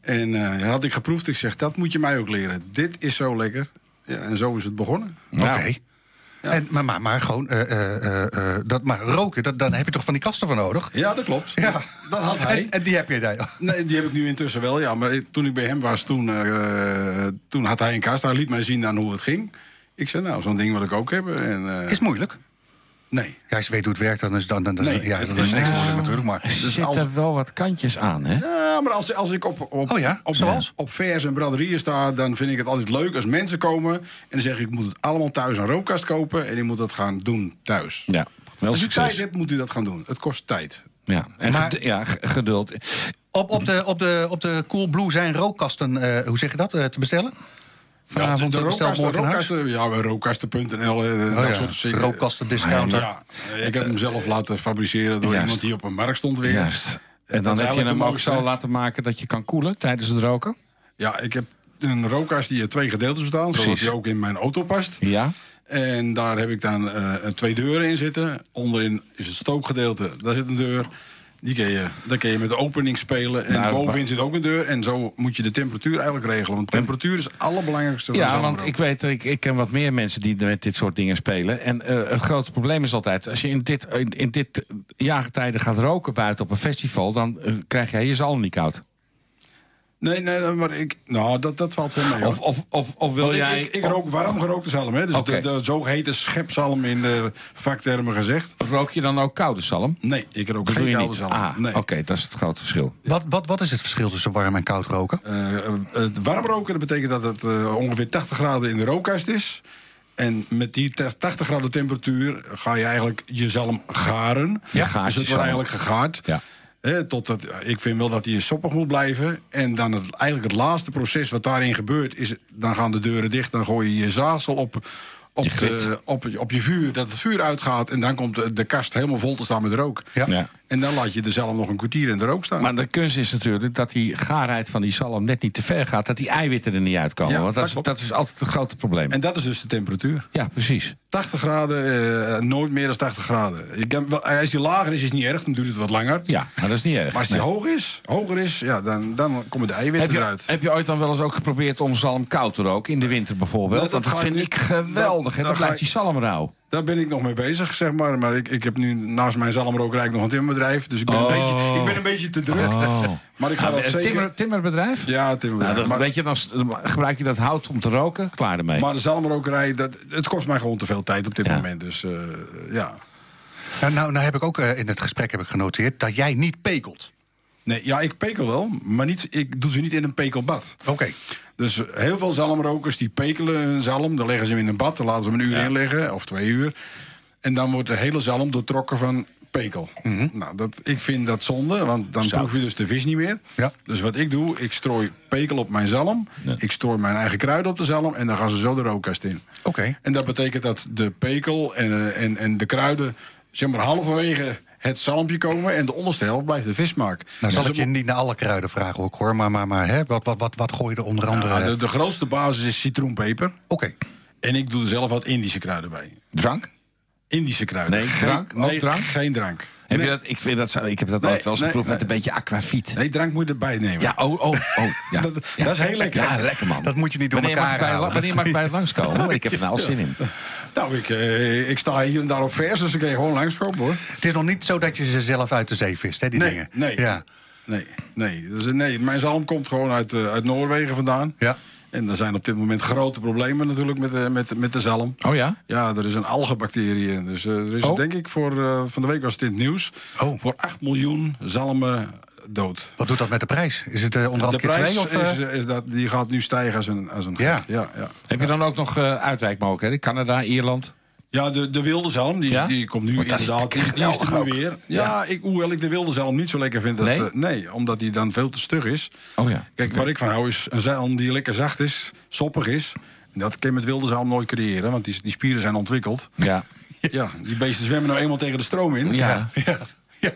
En eh, had ik geproefd. Ik zeg, dat moet je mij ook leren. Dit is zo lekker. Ja, en zo is het begonnen.
Nou,
Oké. En, maar, maar, maar gewoon, eh, eh, eh, eh, dat, maar roken, dat, daar heb je toch van die kasten voor nodig?
Ja, dat klopt. Dat, dat had
En,
hij.
en die heb je daar.
Nee, die heb ik nu intussen wel, ja. Maar ik- toen ik bij hem was, toen, eh, toen had hij een kast. Hij liet mij zien aan hoe het ging. Ik zei, nou, zo'n ding wil ik ook hebben. En, eh,
Is moeilijk.
nee.
Ja, als je weet hoe het werkt, dan is dan, dan, dan-
Nee,
ja,
het
dan
is
is niks
echt-
moeilijk natuurlijk. Maar Dus
er zitten wel wat kantjes aan, hè?
Ja, maar als, als ik op, op,
Oh ja,
op,
zoals?
op vers en braderieën sta, dan vind ik het altijd leuk als mensen komen. En dan zeg ik, ik moet het allemaal thuis een rookkast kopen. En ik moet dat gaan doen thuis.
Ja, wel
als u tijd
succes.
hebt, moet u dat gaan doen. Het kost tijd.
Ja, en
Maar-
ged- ja, g- geduld.
Op, op, de, op, de, op de Coolblue zijn rookkasten, eh, hoe zeg je dat, eh, te
Oh,
bestellen? Vanavond
de
bestel
rookkasten,
morgen naar huis.
rookkasten, ja, bij rookkasten.nl, eh,
Oh
dat
ja,
soort dingen.
rookkasten discounter.
Ja, eh, ik heb hem zelf laten fabriceren door
Juist.
iemand die op een markt stond weer.
Juist. En dan
Dat is
heb je
eigenlijk
hem
de
ook
mooiste,
zo
hè?
laten maken dat je kan koelen tijdens het roken.
Ja, ik heb een rookkast die uit twee gedeeltes bestaat, zodat
Precies.
die ook in mijn auto past.
Ja.
En daar heb ik dan eh, twee deuren in zitten. Onderin is het stookgedeelte, daar zit een deur. Die kun je, daar kun je met de opening spelen. En
Nou,
bovenin
wa-
zit ook een deur. En zo moet je de temperatuur eigenlijk regelen. Want temperatuur is het allerbelangrijkste. van
Ja,
zo'n
want
brood.
ik weet, ik, ik ken wat meer mensen die met dit soort dingen spelen. En eh, het grote probleem is altijd, als je in dit, in, in dit jaargetijde gaat roken buiten op een festival, dan eh, krijg jij je zalm niet koud.
Nee, nee, nee, maar ik... Nou, dat, dat valt wel mee. hoor.
Of, of, of, of wil
Want
jij...
Oh, ik, ik, ik rook warm gerookte zalm. Hè? Dus
Oké.
de, de zogeheten schepzalm in de vaktermen gezegd.
Rook je dan ook koude zalm?
Nee, ik rook
Dat doe
geen
je
koude
niet.
zalm.
Ah,
nee.
oké, dat is het grote verschil.
Wat, wat, wat is het verschil tussen warm en koud roken?
Eh, eh, het warm roken, dat betekent dat het eh, ongeveer 80 graden in de rookkast is. En met die te- 80 graden temperatuur ga je eigenlijk je zalm garen.
Ja, gaar
dus
je
het
zalm.
wordt eigenlijk gegaard.
Ja.
Eh, totdat, ik vind wel dat hij soppig moet blijven. En dan het, eigenlijk het laatste proces wat daarin gebeurt... is dan gaan de deuren dicht, dan gooi je je zaagsel op... Op,
Je grit.
de- op, op je vuur, dat het vuur uitgaat. En dan komt de, de kast helemaal vol te staan met rook.
Ja.
Ja.
En En dan laat je de zalm nog een kwartier in de rook staan.
Maar de kunst is natuurlijk dat die gaarheid van die zalm net niet te ver gaat. Dat die eiwitten er niet uitkomen.
Ja,
want dat,
dat
is-
klopt.
dat is altijd het grote probleem.
En dat is dus de temperatuur.
Ja, precies.
80 graden, eh, nooit meer dan 80 graden. Je kan, wel- als die lager is, is het niet erg, dan duurt het wat langer.
Ja, maar dat is niet erg.
Maar als die
Nee.
hoog is, hoger is, ja, dan, dan komen de
heb,
eiwitten
je,
eruit.
heb je ooit dan wel eens ook geprobeerd om zalm koud te roken? In de winter bijvoorbeeld?
Nou, dat
Want dat
ga ik
vind
nu-
ik geweldig.
dat-
en
dat
dan
ga
blijft
ik-
die zalm rauw.
Daar ben ik nog mee bezig, zeg maar. Maar ik, ik heb nu naast mijn zalmrokerij nog een timmerbedrijf. Dus ik ben, een, beetje, ik ben een beetje te druk. Maar ik ga
Ah,
dat
Oh. een
zeker...
timmer, timmerbedrijf?
Ja, timmerbedrijf.
Nou, dan,
maar,
weet je, dan s- dan gebruik je dat hout om te roken? Klaar ermee.
maar de zalmrokerij, dat, het kost mij gewoon te veel tijd op dit
Ja.
moment. Dus eh, ja.
Nou, nou, nou heb ik ook eh, in het gesprek heb ik genoteerd dat jij niet pekelt.
Nee, ja, ik pekel wel, maar niet, ik doe ze niet in een pekelbad.
Oké.
Dus heel veel zalmrokers die pekelen hun zalm. Dan leggen ze hem in een bad, dan laten ze hem een uur in liggen of twee uur. En dan wordt de hele zalm doortrokken van pekel.
Mhm.
Nou, dat, ik vind dat zonde, want dan proef je dus de vis niet meer.
Ja.
Dus wat ik doe, ik strooi pekel op mijn zalm. Ik strooi mijn eigen kruiden op de zalm en dan gaan ze zo de rookkast in.
Oké.
En dat betekent dat de pekel en, eh, en, en de kruiden zeg maar halverwege het zalmpje komen... en de onderste helft blijft de vismaak.
Nou,
Dus
zal
als
ik je
het-
niet naar alle kruiden vragen ook hoor. Maar, maar, maar hè, wat, wat, wat, wat gooi je er onder andere? eh,
Ja, de, de grootste basis is citroenpeper.
Oké.
En ik doe er zelf wat Indische kruiden bij.
Drank?
Indische kruiden.
Nee,
Geen-
drank?
Nee,
Ook drank?
geen drank.
Heb
nee,
je dat, ik, vind dat, zo- ik heb dat
Nee,
ooit wel eens
nee,
geproefd met
nee.
een beetje aquafiet.
nee, drank moet je erbij nemen.
Ja, oh, oh, oh. Ja.
Dat-
Ja.
dat is heel lekker.
Ja, lekker man.
Dat moet je niet door
Wanneer mag, ik
elkaar
bij,
halen.
wanneer mag ik bij het langskomen? Ik heb er nou al zin in.
Nou, ik, eh, ik sta hier en daar op vers, dus ik kan je gewoon langskomen hoor.
Het is nog niet zo dat je ze zelf uit de zee vist, hè, die
Nee,
dingen.
nee.
Ja.
Nee, nee. Dus, eh, nee mijn zalm komt gewoon uit, eh, uit Noorwegen vandaan.
Ja.
En er zijn op dit moment grote problemen natuurlijk met, de- met, met de zalm.
Oh ja?
Ja, er is een algebacterie in. Dus eh, er is
Oh.
denk ik voor, eh, van de week was het in het nieuws,
Oh.
voor 8 miljoen zalmen dood.
Wat doet dat met de prijs? Is het eh,
de
onderhand keer
prijs
twee? Of,
is,
eh,
is dat, die gaat nu stijgen als een, als een
Ja.
gek. ja, ja.
Heb je dan ook nog eh uitwijkmogelijkheden? Canada, Ierland?
Ja, de, de wilde zalm, die, is-
Ja?
die komt nu
Want dat is
inderdaad. Die, die is er
geweldig
nu
ook.
weer. Ja, Ik, hoewel ik de wilde zalm niet zo lekker vind. Als
Nee?
de- nee, omdat die dan veel te stug is.
Oh ja.
Kijk, waar ik van hou is een zalm die lekker zacht is, soppig is. En dat kan je met wilde zalm nooit creëren, want die, die spieren zijn ontwikkeld.
Ja.
Ja, die beesten zwemmen nou eenmaal tegen de stroom in.
Ja.
ja.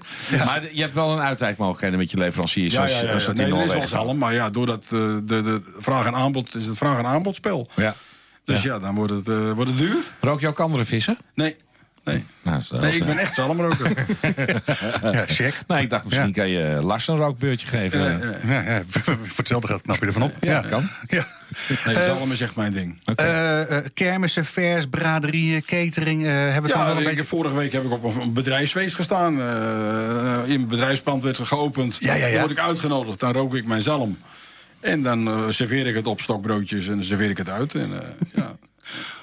Maar de- je hebt wel een uitwijkmogelijkheden met je leverancier.
Ja,
Zoals,
ja, ja,
zoals
ja.
dat
Nee,
in
er is wel
Noorwegen gaat.
zalm, maar ja, doordat eh, de, de vraag en aanbod is het vraag en aanbodspel.
Ja.
Dus ja, dan wordt het, eh, wordt het duur.
Rook je ook andere vissen?
Nee, nee.
Nou, is-
Nee, ik ben echt zalmroker.
eh,
eh,
ja, check.
Nee,
Nou,
nou, ik dacht misschien
Ja.
kan je eh, Lars een rookbeurtje geven.
Ja, ja, voor hetzelfde geld knap je ervan op.
Ja, kan.
Ja.
Nee, zalm is echt mijn ding.
Eh, eh, kermissen, vers, braderieën, catering. eh, hebben we het dan
Ja,
wel een
ik-
beetje...
vorige week heb ik op een bedrijfsfeest gestaan. Eh, in mijn bedrijfspand werd er geopend.
Ja, ja, ja.
Dan word ik uitgenodigd, dan rook ik mijn zalm. En dan eh, serveer ik het op stokbroodjes en dan serveer ik het uit. En eh, ja,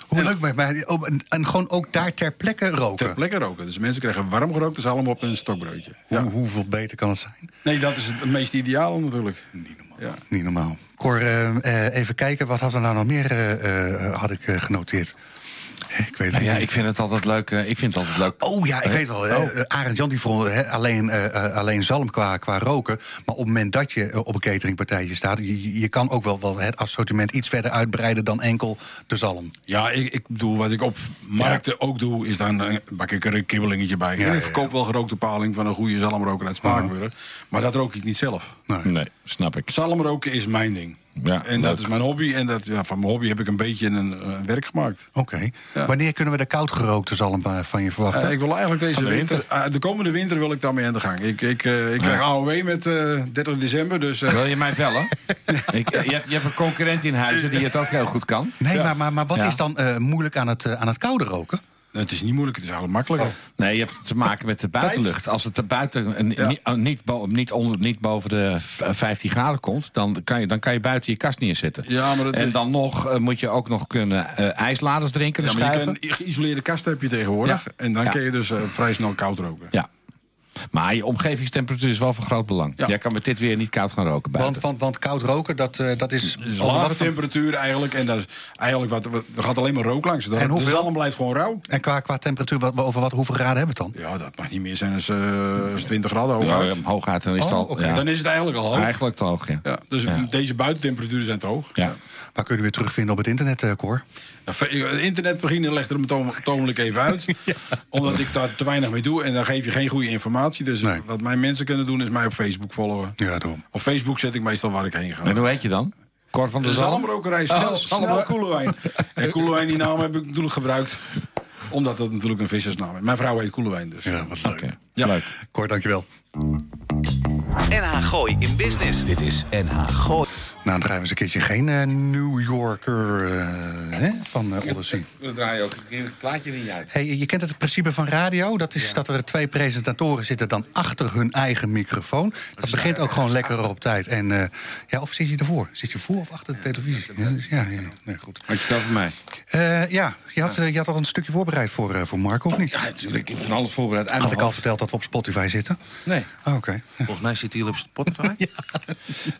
Hoe leuk met mij. oh, en- En gewoon ook daar ter plekke roken.
ter plekke roken. Dus mensen krijgen warm gerookte zalm op hun stokbroodje. Ja.
Hoe, hoeveel beter kan het zijn?
Nee, dat is het meest ideale natuurlijk.
Niet normaal.
Ja.
Niet normaal. Cor, eh, eh, even kijken. Wat had er nou nog meer eh, eh, had ik eh, genoteerd? Ik weet het
Nou ja,
niet.
ik vind het altijd leuk. eh, ik vind het altijd leuk.
Oh ja, ik weet wel. eh, eh, Arend Jan die vond hè, alleen, eh, eh, alleen zalm qua, qua roken. Maar op het moment dat je eh, op een cateringpartijtje staat... je, je- je kan ook wel, wel het assortiment iets verder uitbreiden... dan enkel de zalm.
Ja, ik, ik bedoel, wat ik op markten ook doe, is dan eh, bak ik er een kibbelingetje bij. en
ja,
ik
ja.
verkoop wel gerookte paling van een goede zalmroker uit Spakenburg. Maar dat rook ik niet zelf.
Nee, snap ik.
Zalmroken is mijn ding.
Ja,
en
leuk.
dat is mijn hobby. En dat, ja, van mijn hobby heb ik een beetje een eh, werk gemaakt.
Oké.
Ja.
Wanneer kunnen we de koud gerookte zalm eh, van je verwachten?
Eh, ik wil eigenlijk deze
Van de
winter, eh, de komende winter wil ik daarmee aan de gang. Ik, ik, eh, ik krijg AOW met eh, 30 december, dus eh,
Wil je mij bellen? ik, eh, je, hebt, je hebt een concurrent in huizen die het ook heel goed kan.
Nee, maar, maar, maar wat
Ja.
is dan eh, moeilijk aan het, eh, aan het koude roken?
het is niet moeilijk, het is eigenlijk makkelijker.
Nee, je hebt te maken met de buitenlucht. Als het er buiten eh, ni-
Ja.
oh, niet, bo- niet, onder, niet boven de v- eh, 15 graden komt, dan kan, je, dan kan je buiten je kast neerzetten.
Ja, maar dat-
en dan nog eh, moet je ook nog kunnen eh, ijsladers drinken,
Ja,
dus
maar je
schuiven.
kan, geïsoleerde kasten heb je tegenwoordig.
Ja.
En dan
Ja.
kun je dus eh, vrij snel koud roken.
Ja. Maar je omgevingstemperatuur is wel van groot belang.
Ja.
Jij kan met dit weer niet koud gaan roken
Want,
buiten.
want, want koud roken, dat, eh, dat is...
Dus
al
lage
wat-
temperatuur eigenlijk. En dat is eigenlijk wat, wat- er gaat alleen maar rook langs. Dat,
En
de
hoeveel?
zalm blijft gewoon rauw.
En qua, qua temperatuur, wat, over wat, hoeveel graden hebben we het dan?
Ja, dat mag niet meer zijn als, eh, als 20 graden hoog.
Ja, ja, hooguit dan is het
Oh,
al.
oké.
ja.
Dan is het eigenlijk al hoog.
Eigenlijk te hoog, ja.
Ja, dus
Ja.
deze buitentemperaturen zijn te hoog.
Ja.
Waar kun je weer terugvinden op het internet, eh, Cor?
Nou, ve- ik- Het internetpagina legt er me toon- toonlijk even uit. Omdat ik daar te weinig mee doe. En dan geef je geen goede informatie. Dus
Nee.
wat mijn mensen kunnen doen is mij op Facebook volgen.
Ja, daarom.
Op Facebook zet ik meestal waar ik heen ga.
En hoe heet je dan? Cor van der
De
Zalm?
zalmrokerij, snel,
Oh,
snel
zalmro-
Koelewijn. En Koelewijn, die naam heb ik natuurlijk gebruikt. Omdat dat natuurlijk een vissersnaam is. Mijn vrouw heet Koelewijn dus.
Ja, wat leuk.
Oké,
Ja.
leuk.
Cor, dankjewel.
NH Gooi in Business. Dit is NH Gooi.
Nou, dan draaien we eens een keertje geen eh, New Yorker eh, hè, van eh Odyssey.
We draaien ook het plaatje niet uit.
Hey, je kent het principe van radio. Dat is dat er twee presentatoren zitten dan achter hun eigen microfoon. Dat begint ook gewoon lekker op tijd. En, eh, ja, of zit je ervoor? Zit je voor of achter de televisie? Ja, dus- ja, ja. Nee, goed.
Had je het over mij?
Eh, ja, je had, eh, je had al een stukje voorbereid voor, eh, voor Marco, of niet?
Ja, natuurlijk. Ik heb van alles voorbereid. Uit
Had
mijn
ik al
hoofd.
verteld dat we op Spotify zitten?
Nee.
Oh, Oké.
Volgens mij zit hij hier op Spotify.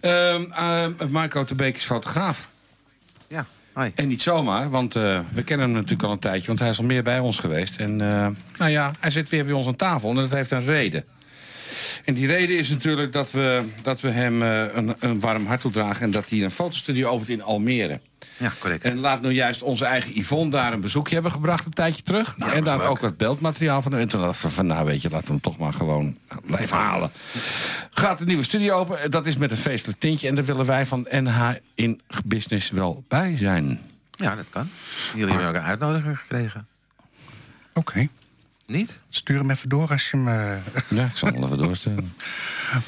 Ehm, ehm, Marco de Beek is fotograaf.
Ja, hoi.
En niet zomaar, want eh, we kennen hem natuurlijk al een tijdje. Want hij is al meer bij ons geweest. En eh, nou ja, hij zit weer bij ons aan tafel. En dat heeft een reden. En die reden is natuurlijk dat we, dat we hem eh, een, een warm hart toedragen. En dat hij een fotostudio opent in Almere.
Ja, correct.
En laat nou juist onze eigen Yvonne daar een bezoekje hebben gebracht een tijdje terug. en daar ook wat beeldmateriaal van. En toen dachten we van, nou weet je, laten we hem toch maar gewoon blijven halen. Gaat de nieuwe studio open. Dat is met een feestelijk tintje. En daar willen wij van NH in Business wel bij zijn.
Ja, dat kan. Jullie hebben ook een uitnodiging gekregen.
Oké.
Niet?
Stuur hem even door als je hem... eh,
Ja, ik zal het wel even doorstellen.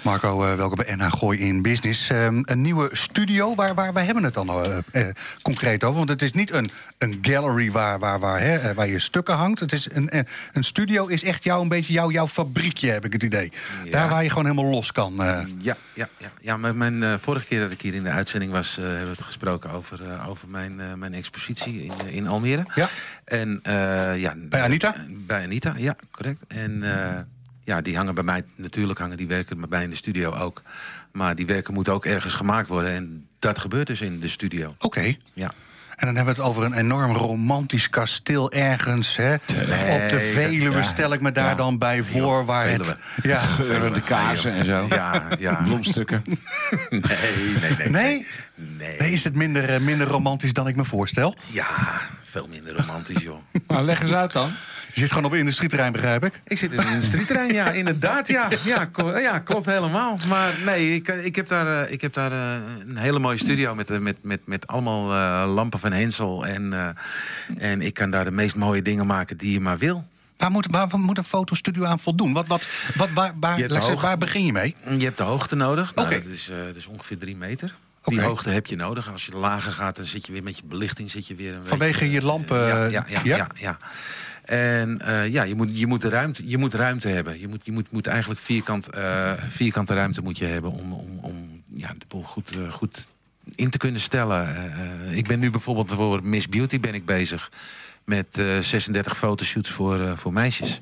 Marco, eh, welkom bij NH Gooi in Business. Ehm, een nieuwe studio, waar, waar, waar hebben we het dan eh, eh, concreet over? Want het is niet een, een gallery waar, waar, waar, hè, eh, waar je stukken hangt. Het is een, eh, een studio is echt jou, een beetje jou, jouw fabriekje, heb ik het idee.
Ja.
Daar waar je gewoon helemaal los kan. eh.
Ja, ja, ja. ja mijn, mijn, eh, vorige keer dat ik hier in de uitzending was, eh, hebben we het gesproken over, eh, over mijn, eh, mijn expositie in, eh, in Almere.
Ja.
En, eh, ja
Bij Anita?
eh, Bij Anita, ja, correct. En eh, ja, die hangen bij mij, natuurlijk hangen die werken bij mij in de studio ook. Maar die werken moeten ook ergens gemaakt worden. En dat gebeurt dus in de studio.
Oké.
Ja.
En dan hebben we het over een enorm romantisch kasteel ergens. Hè? Op de Veluwe stel ik me daar dan bij voor. waar het,
Veluwe.
ja.
Geurende kaarsen en zo.
Ja, ja.
Bloemstukken.
Nee, nee, nee.
Nee?
Nee.
Nee, is het minder, eh, minder romantisch dan ik me voorstel?
Ja, veel minder romantisch, joh.
Nou, leg eens uit dan.
Je zit gewoon op industrieterrein, begrijp ik.
Ik zit in een industrieterrein, ja, inderdaad. Ja, ja, ko- ja klopt helemaal. Maar nee, ik, eh, ik heb daar, eh, ik heb daar eh, een hele mooie studio met, eh, met, met, met allemaal eh, lampen van Hensel. En, eh, en ik kan daar de meest mooie dingen maken die je maar wil.
Waar moet, waar, waar moet een fotostudio aan voldoen? Wat, wat, wat, waar, waar,
Je hebt
laat ik zeggen,
hoog-
waar begin je mee?
Je hebt de hoogte nodig. Nou,
Oké.
dat, is, eh, dat is ongeveer drie meter.
Oké.
Die hoogte heb je nodig. Als je lager gaat, dan zit je weer met je belichting. Zit je weer een
Vanwege
beetje,
je lampen,
eh, Ja, ja, ja.
ja?
ja, ja. En eh, ja, je moet, je, moet de ruimte, je moet ruimte hebben. Je moet, je moet, moet eigenlijk vierkant, eh, vierkante ruimte moet je hebben om, om, om ja, de boel goed, eh, goed in te kunnen stellen. Eh, eh, ik ben nu bijvoorbeeld voor Miss Beauty ben ik bezig met eh, 36 fotoshoots voor, eh, voor meisjes. En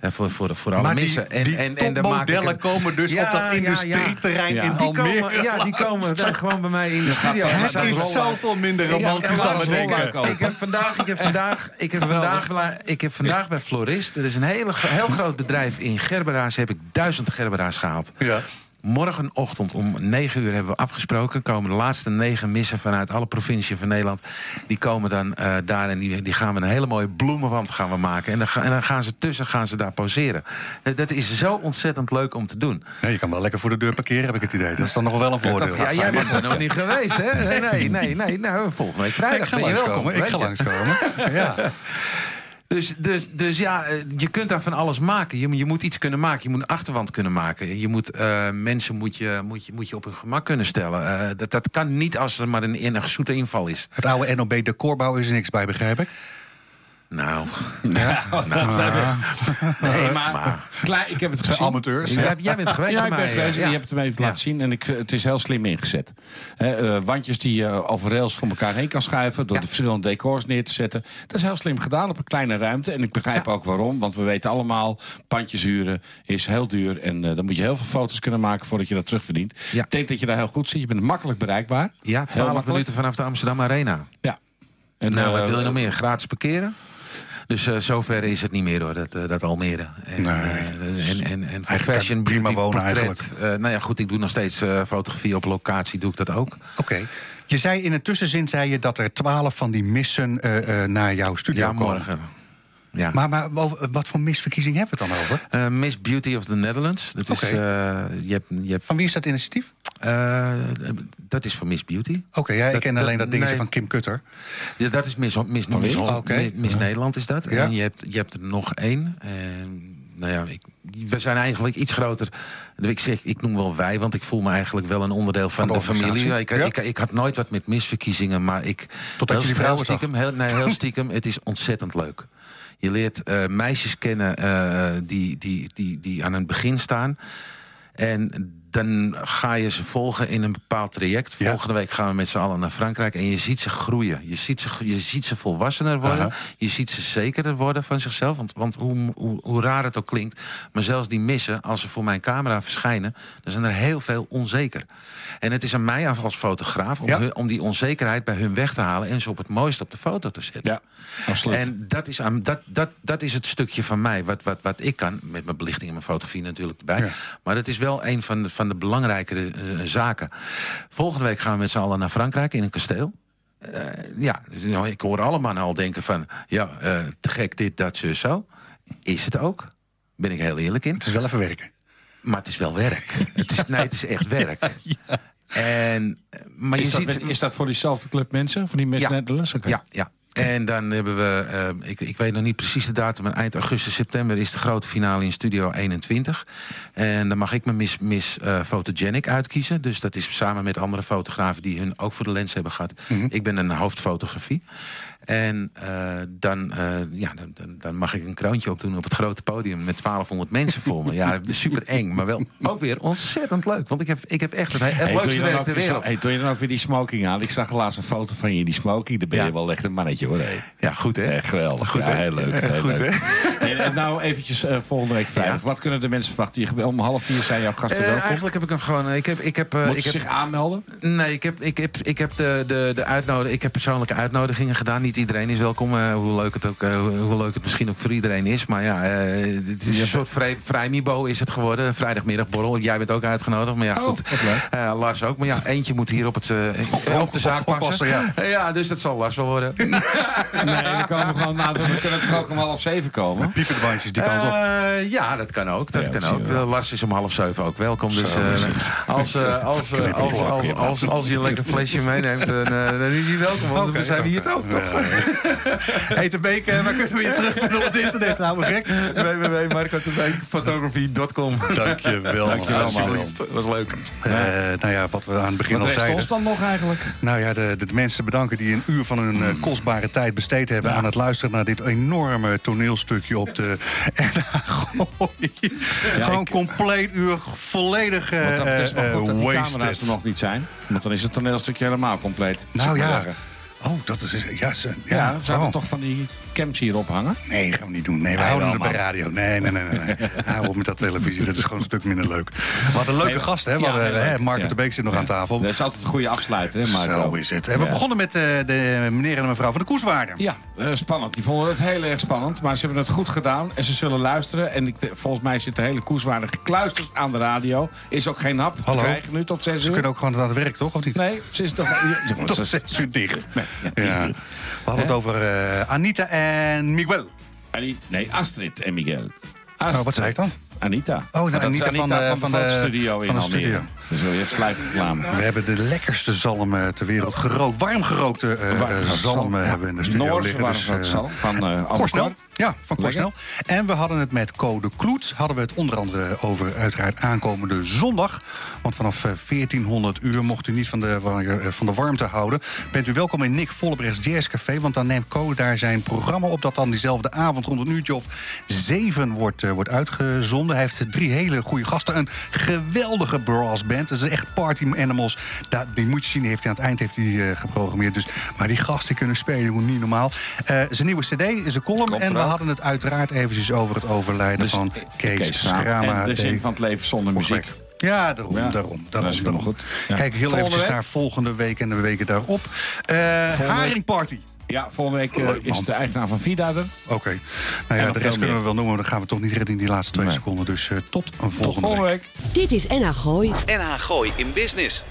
Eh, voor, voor, voor alle
Maar die-
mensen. En,
die
en, en daar maak ik
topmodellen komen dus op dat industrieterrein in
die
Almere.
Komen, ja, die komen daar gewoon bij mij in de
gaat
studio.
toch-
Ja,
Het
dat
is
rollen.
zoveel minder
Ja,
dan we
dat is
denken.
rollen. Ik heb vandaag, ik heb vandaag, ik heb vandaag, la- ik heb vandaag bij Florist, dat is een hele, gro- heel groot bedrijf in Gerberaars, heb ik duizend Gerberaars gehaald.
Ja.
Morgenochtend om 9 uur hebben we afgesproken. Komen de laatste negen missen vanuit alle provinciën van Nederland. Die komen dan eh, daar en die, die gaan we een hele mooie bloemenwand gaan we maken. En dan, ga- en dan gaan ze tussen gaan ze daar poseren. Eh, Dat is zo ontzettend leuk om te doen.
Nee, je kan wel lekker voor de deur parkeren, heb ik het idee. Dat is dan nog wel een voordeel.
Ja, jij bent er nog niet geweest, hè? Nee, nee, nee. nee. Nou, volgende week
ik
vrijdag
ga
ben je welkom.
langskomen. Ik
weet
ga
je.
langskomen. Ja.
Dus, dus, dus ja, eh, je kunt daar van alles maken. Je, je moet iets kunnen maken. Je moet een achterwand kunnen maken. Je moet, eh, mensen moet je, moet, je, moet je op hun gemak kunnen stellen. Eh, dat, dat kan niet als er maar een, een zoete inval is.
Het oude NOB decorbouw is er niks bij, begrijp ik.
Nou,
Nou, dat zijn we. Nee, maar, Klaar, ik heb het gezien.
amateurs.
jij, jij bent geweest
Ja,
bij
ik ben
mij,
geweest.
eh,
en Je hebt hem even laten zien. En ik, het is heel slim ingezet. Hè, eh, wandjes die je over rails van elkaar heen kan schuiven. Door de verschillende decors neer te zetten. Dat is heel slim gedaan op een kleine ruimte. En ik begrijp ook waarom. Want we weten allemaal, pandjes huren is heel duur. En eh, dan moet je heel veel foto's kunnen maken voordat je dat terugverdient.
Ja.
Ik denk dat je daar heel goed zit. Je bent makkelijk bereikbaar.
Ja,
Heel
12
makkelijk.
minuten vanaf de Amsterdam Arena.
Ja. En,
Nou,
eh,
wat wil je nog meer? Gratis parkeren? Dus eh, zover is het niet meer hoor, dat, eh, dat Almere. En,
Nee.
eh, en, en, en voor
kan je
fashion,
prima
beauty,
wonen
portret. Eh, nou ja, goed, ik doe nog steeds eh, fotografie op locatie, doe ik dat ook.
Oké. Je zei in een tussenzin zei je dat er twaalf van die missen eh, eh, naar jouw studio
Ja,
komen.
morgen. Ja.
Maar, maar over- wat voor misverkiezing hebben we het dan over?
Eh, Miss Beauty of the Netherlands. Dat is,
Oké.
eh, je hebt, je hebt,
Van wie is dat initiatief?
eh, dat is van Miss Beauty.
Oké, ja, ik
Dat-
ken alleen
dat-
dat dingetje
nee.
van Kim Kutter.
Ja, dat is Miss, Miss, Miss,
Oké.
Miss- Miss Nederland is dat.
Ja.
En je hebt, je hebt er nog één. En, nou ja, ik, we zijn eigenlijk iets groter. Dus Ik, zeg, ik noem wel wij, want ik voel me eigenlijk wel een onderdeel van,
Van de
de, familie. Ik,
organisatie, ja.
ik, ik had nooit wat met misverkiezingen, maar ik...
Totdat
heel-
je die
heel
vrouwendag-
stiekem, heel, nee, heel stiekem, het is ontzettend leuk. Je leert eh, meisjes kennen eh, die, die, die, die aan het begin staan. En dan ga je ze volgen in een bepaald traject.
Ja.
Volgende week gaan we met z'n allen naar Frankrijk. En je ziet ze groeien. Je ziet ze, gro- je ziet ze volwassener worden.
Aha.
Je ziet ze zekerder worden van zichzelf. Want, want hoe, hoe, hoe raar het ook klinkt. Maar zelfs die missen, als ze voor mijn camera verschijnen. dan zijn er heel veel onzeker. En het is aan mij af als fotograaf. om,
Ja.
hun- om die onzekerheid bij hun weg te halen. en ze op het mooiste op de foto te zetten.
Ja, absoluut.
En dat is, aan, dat, dat, dat is het stukje van mij, wat, wat, wat ik kan. Met mijn belichting en mijn fotografie natuurlijk erbij. Maar dat is wel een van de, van de belangrijkere eh, zaken. Volgende week gaan we met z'n allen naar Frankrijk in een kasteel. Eh, ja, dus, nou, ik hoor allemaal al denken van... ja, eh, te gek dit, dat, zo, zo. Is het ook. Ben ik heel eerlijk in.
Het is wel even werken.
Maar het is wel werk. het is, nee, het is echt werk. En, eh, maar
Is
je
dat,
ziet,
met- is dat voor diezelfde club mensen? Van die Miss
Ja.
Netherlands? Oké.
ja, ja. En dan hebben we, eh, ik, ik weet nog niet precies de datum, maar eind augustus, september is de grote finale in Studio 21. En dan mag ik mijn Miss, miss eh, Photogenic uitkiezen. Dus dat is samen met andere fotografen die hun ook voor de lens hebben gehad.
Mhm.
Ik ben een hoofdfotografie. En eh, dan, eh, ja, dan, dan, dan mag ik een kroontje opdoen op het grote podium met 1200 mensen voor me. Ja, super eng, maar wel ook weer ontzettend leuk. Want ik heb, ik heb echt het, het
Hey, doe,
leukste
je dan
werk
ook
ter
weer zo-
wereld.
hey, doe je dan ook weer die smoking aan? Ik zag laatst een foto van je in die smoking. Daar ben je
Ja.
wel echt een mannetje hoor. hey.
Ja, goed hè?
Echt geweldig. ja, heel leuk. Heel leuk. En, en nou eventjes eh, volgende week vrijdag. Wat kunnen de mensen verwachten? Je- Om half vier zijn jouw gasten
Eh,
welkom.
eigenlijk heb ik hem gewoon. eh, Ik heb, ik heb, eh,
Moeten
ik
ze
heb
zich aanmelden?
Nee, ik heb, ik heb, ik heb, de, de, de uitnodiging, ik heb persoonlijke uitnodigingen gedaan. Niet iedereen is welkom, eh, hoe, leuk het ook, eh, hoe- hoe leuk het misschien ook voor iedereen is. Maar ja, eh, het is een soort vrij, vrijmibo is het geworden. Vrijdagmiddagborrel. Jij bent ook uitgenodigd, maar ja, goed. Eh, Lars ook. Maar ja, eentje moet hier op, het, eh, op de zaak passen.
oppassen,
ja.
ja.
ja, dus dat zal Lars wel worden.
Nee, dan komen we gewoon na. We kunnen toch ook om half zeven komen?
Piepen de bandjes die kant op.
Eh, ja, dat kan ook. Dat
Ja, dat
kan
zien
ook.
we wel.
Eh, Lars is om half zeven ook welkom. Dus eh, als, eh, als, eh, als, als, als, als, je een lekker flesje meeneemt, dan, eh, dan is hij welkom. Want we zijn hier toch? toch?
Hey, te Beek, eh, waar kunnen we je terugvinden op het internet? Nou, gek.
www.marcotebeekfotografie.com
Dankjewel. Dankjewel,
Alsjeblieft, was leuk.
nou ja, wat we aan het begin
Wat
al
rest
zeiden.
ons dan nog eigenlijk? Hmm.
Nou ja, de, de, de mensen bedanken die een uur van hun eh, kostbare tijd besteed hebben... aan het luisteren naar dit enorme toneelstukje op de NH Gooi. Gewoon
ik-
compleet uur, volledig eh
Want dat betreft wel
eh,
goed dat die camera's
wasted.
er nog niet zijn. Want dan is het toneelstukje helemaal compleet.
Nou
Zou ik
ja.
zeggen.
Oh, dat is... Ja, ze, ja,
Ja, we zouden
oh.
toch van die cams hier ophangen?
Nee, gaan we niet doen. Nee, we
Ah,
houden het
jawel,
bij
man.
radio. Nee, nee, nee, nee. nee. Hou op met dat televisie. Dat is gewoon een stuk minder leuk. We hadden leuke
Nee,
gasten, hè? We
ja,
hadden,
heel
hè,
leuk.
Marco
Ja.
de Beek zit nog aan tafel.
Dat is altijd een goede afsluiter, hè, Marco?
Zo is het. En we
Ja.
begonnen met eh, de meneer en de mevrouw van de Koeswaarder.
Ja, eh, spannend. Die vonden het heel erg spannend. Maar ze hebben het goed gedaan en ze zullen luisteren. En ik, te- volgens mij zit de hele koerswaarde gekluisterd aan de radio. Is ook geen hap
Hallo.
te krijgen nu tot zes
Ze
uur.
kunnen ook gewoon aan het werk, toch? Of niet?
Nee, ze is toch... Ja,
Tot
ze-
zes uur dicht.
Nee, ja, het is-
Ja. We hadden het over eh, Anita en Miguel.
Ani- nee, Astrid en Miguel.
Nou, wat zei ik dan?
Anita.
nou,
dat is
Anita van de- van de-
fotostudio in
van de
Almere.
studio.
Dus wil je even sluipreclame.
We hebben de lekkerste zalm eh, ter wereld gerookt. Warm gerookte eh, eh,
Warmgerookte
zalm eh,
ja.
hebben we in de studio
Noorse
liggen. Dus,
warmgerookte
eh, nou?
zalm van, eh, Albert
Korsnel.
Korn.
Ja, van
Lekker.
Korsnel. En we hadden het met Code Kloet. Hadden we het onder andere over uiteraard aankomende zondag. Want vanaf eh, 1400 uur mocht u niet van de, wa- eh, van de warmte houden. Bent u welkom in Nick Vollebrechts Jazzcafé. Want dan neemt Code daar zijn programma op. Dat dan diezelfde avond rond een uurtje of zeven wordt, eh, wordt uitgezonden. Hij heeft drie hele goede gasten. Een geweldige brassband. Dat is echt party animals. Da- die moet je zien. Die heeft hij aan het eind heeft hij, eh, geprogrammeerd. Dus, maar die gasten kunnen spelen. Hoe niet normaal. Eh, zijn nieuwe cd, zijn column.
Komt
en we
eraan.
hadden het uiteraard eventjes over het overlijden
Dus,
van
eh,
Kees,
Schraam.
Schrama.
En de zin
D.
van het leven zonder muziek.
Volgende week. Ja, daarom,
Ja,
daarom,
dat
daarom.
is helemaal
daarom.
goed. Ja.
Kijk heel
Volgende
eventjes
week?
naar volgende week en de weken daarop. Eh Haringparty.
Ja, volgende week eh, is de eigenaar van Vida er.
Oké. Nou ja,
nog
de
veel
rest kunnen
meer.
we wel noemen. maar Dan gaan we toch niet redden in die laatste twee
Nee.
seconden. Dus eh, tot een
Tot
volgende
volgende
week.
week.
Dit is NH Gooi.
NH Gooi in Business.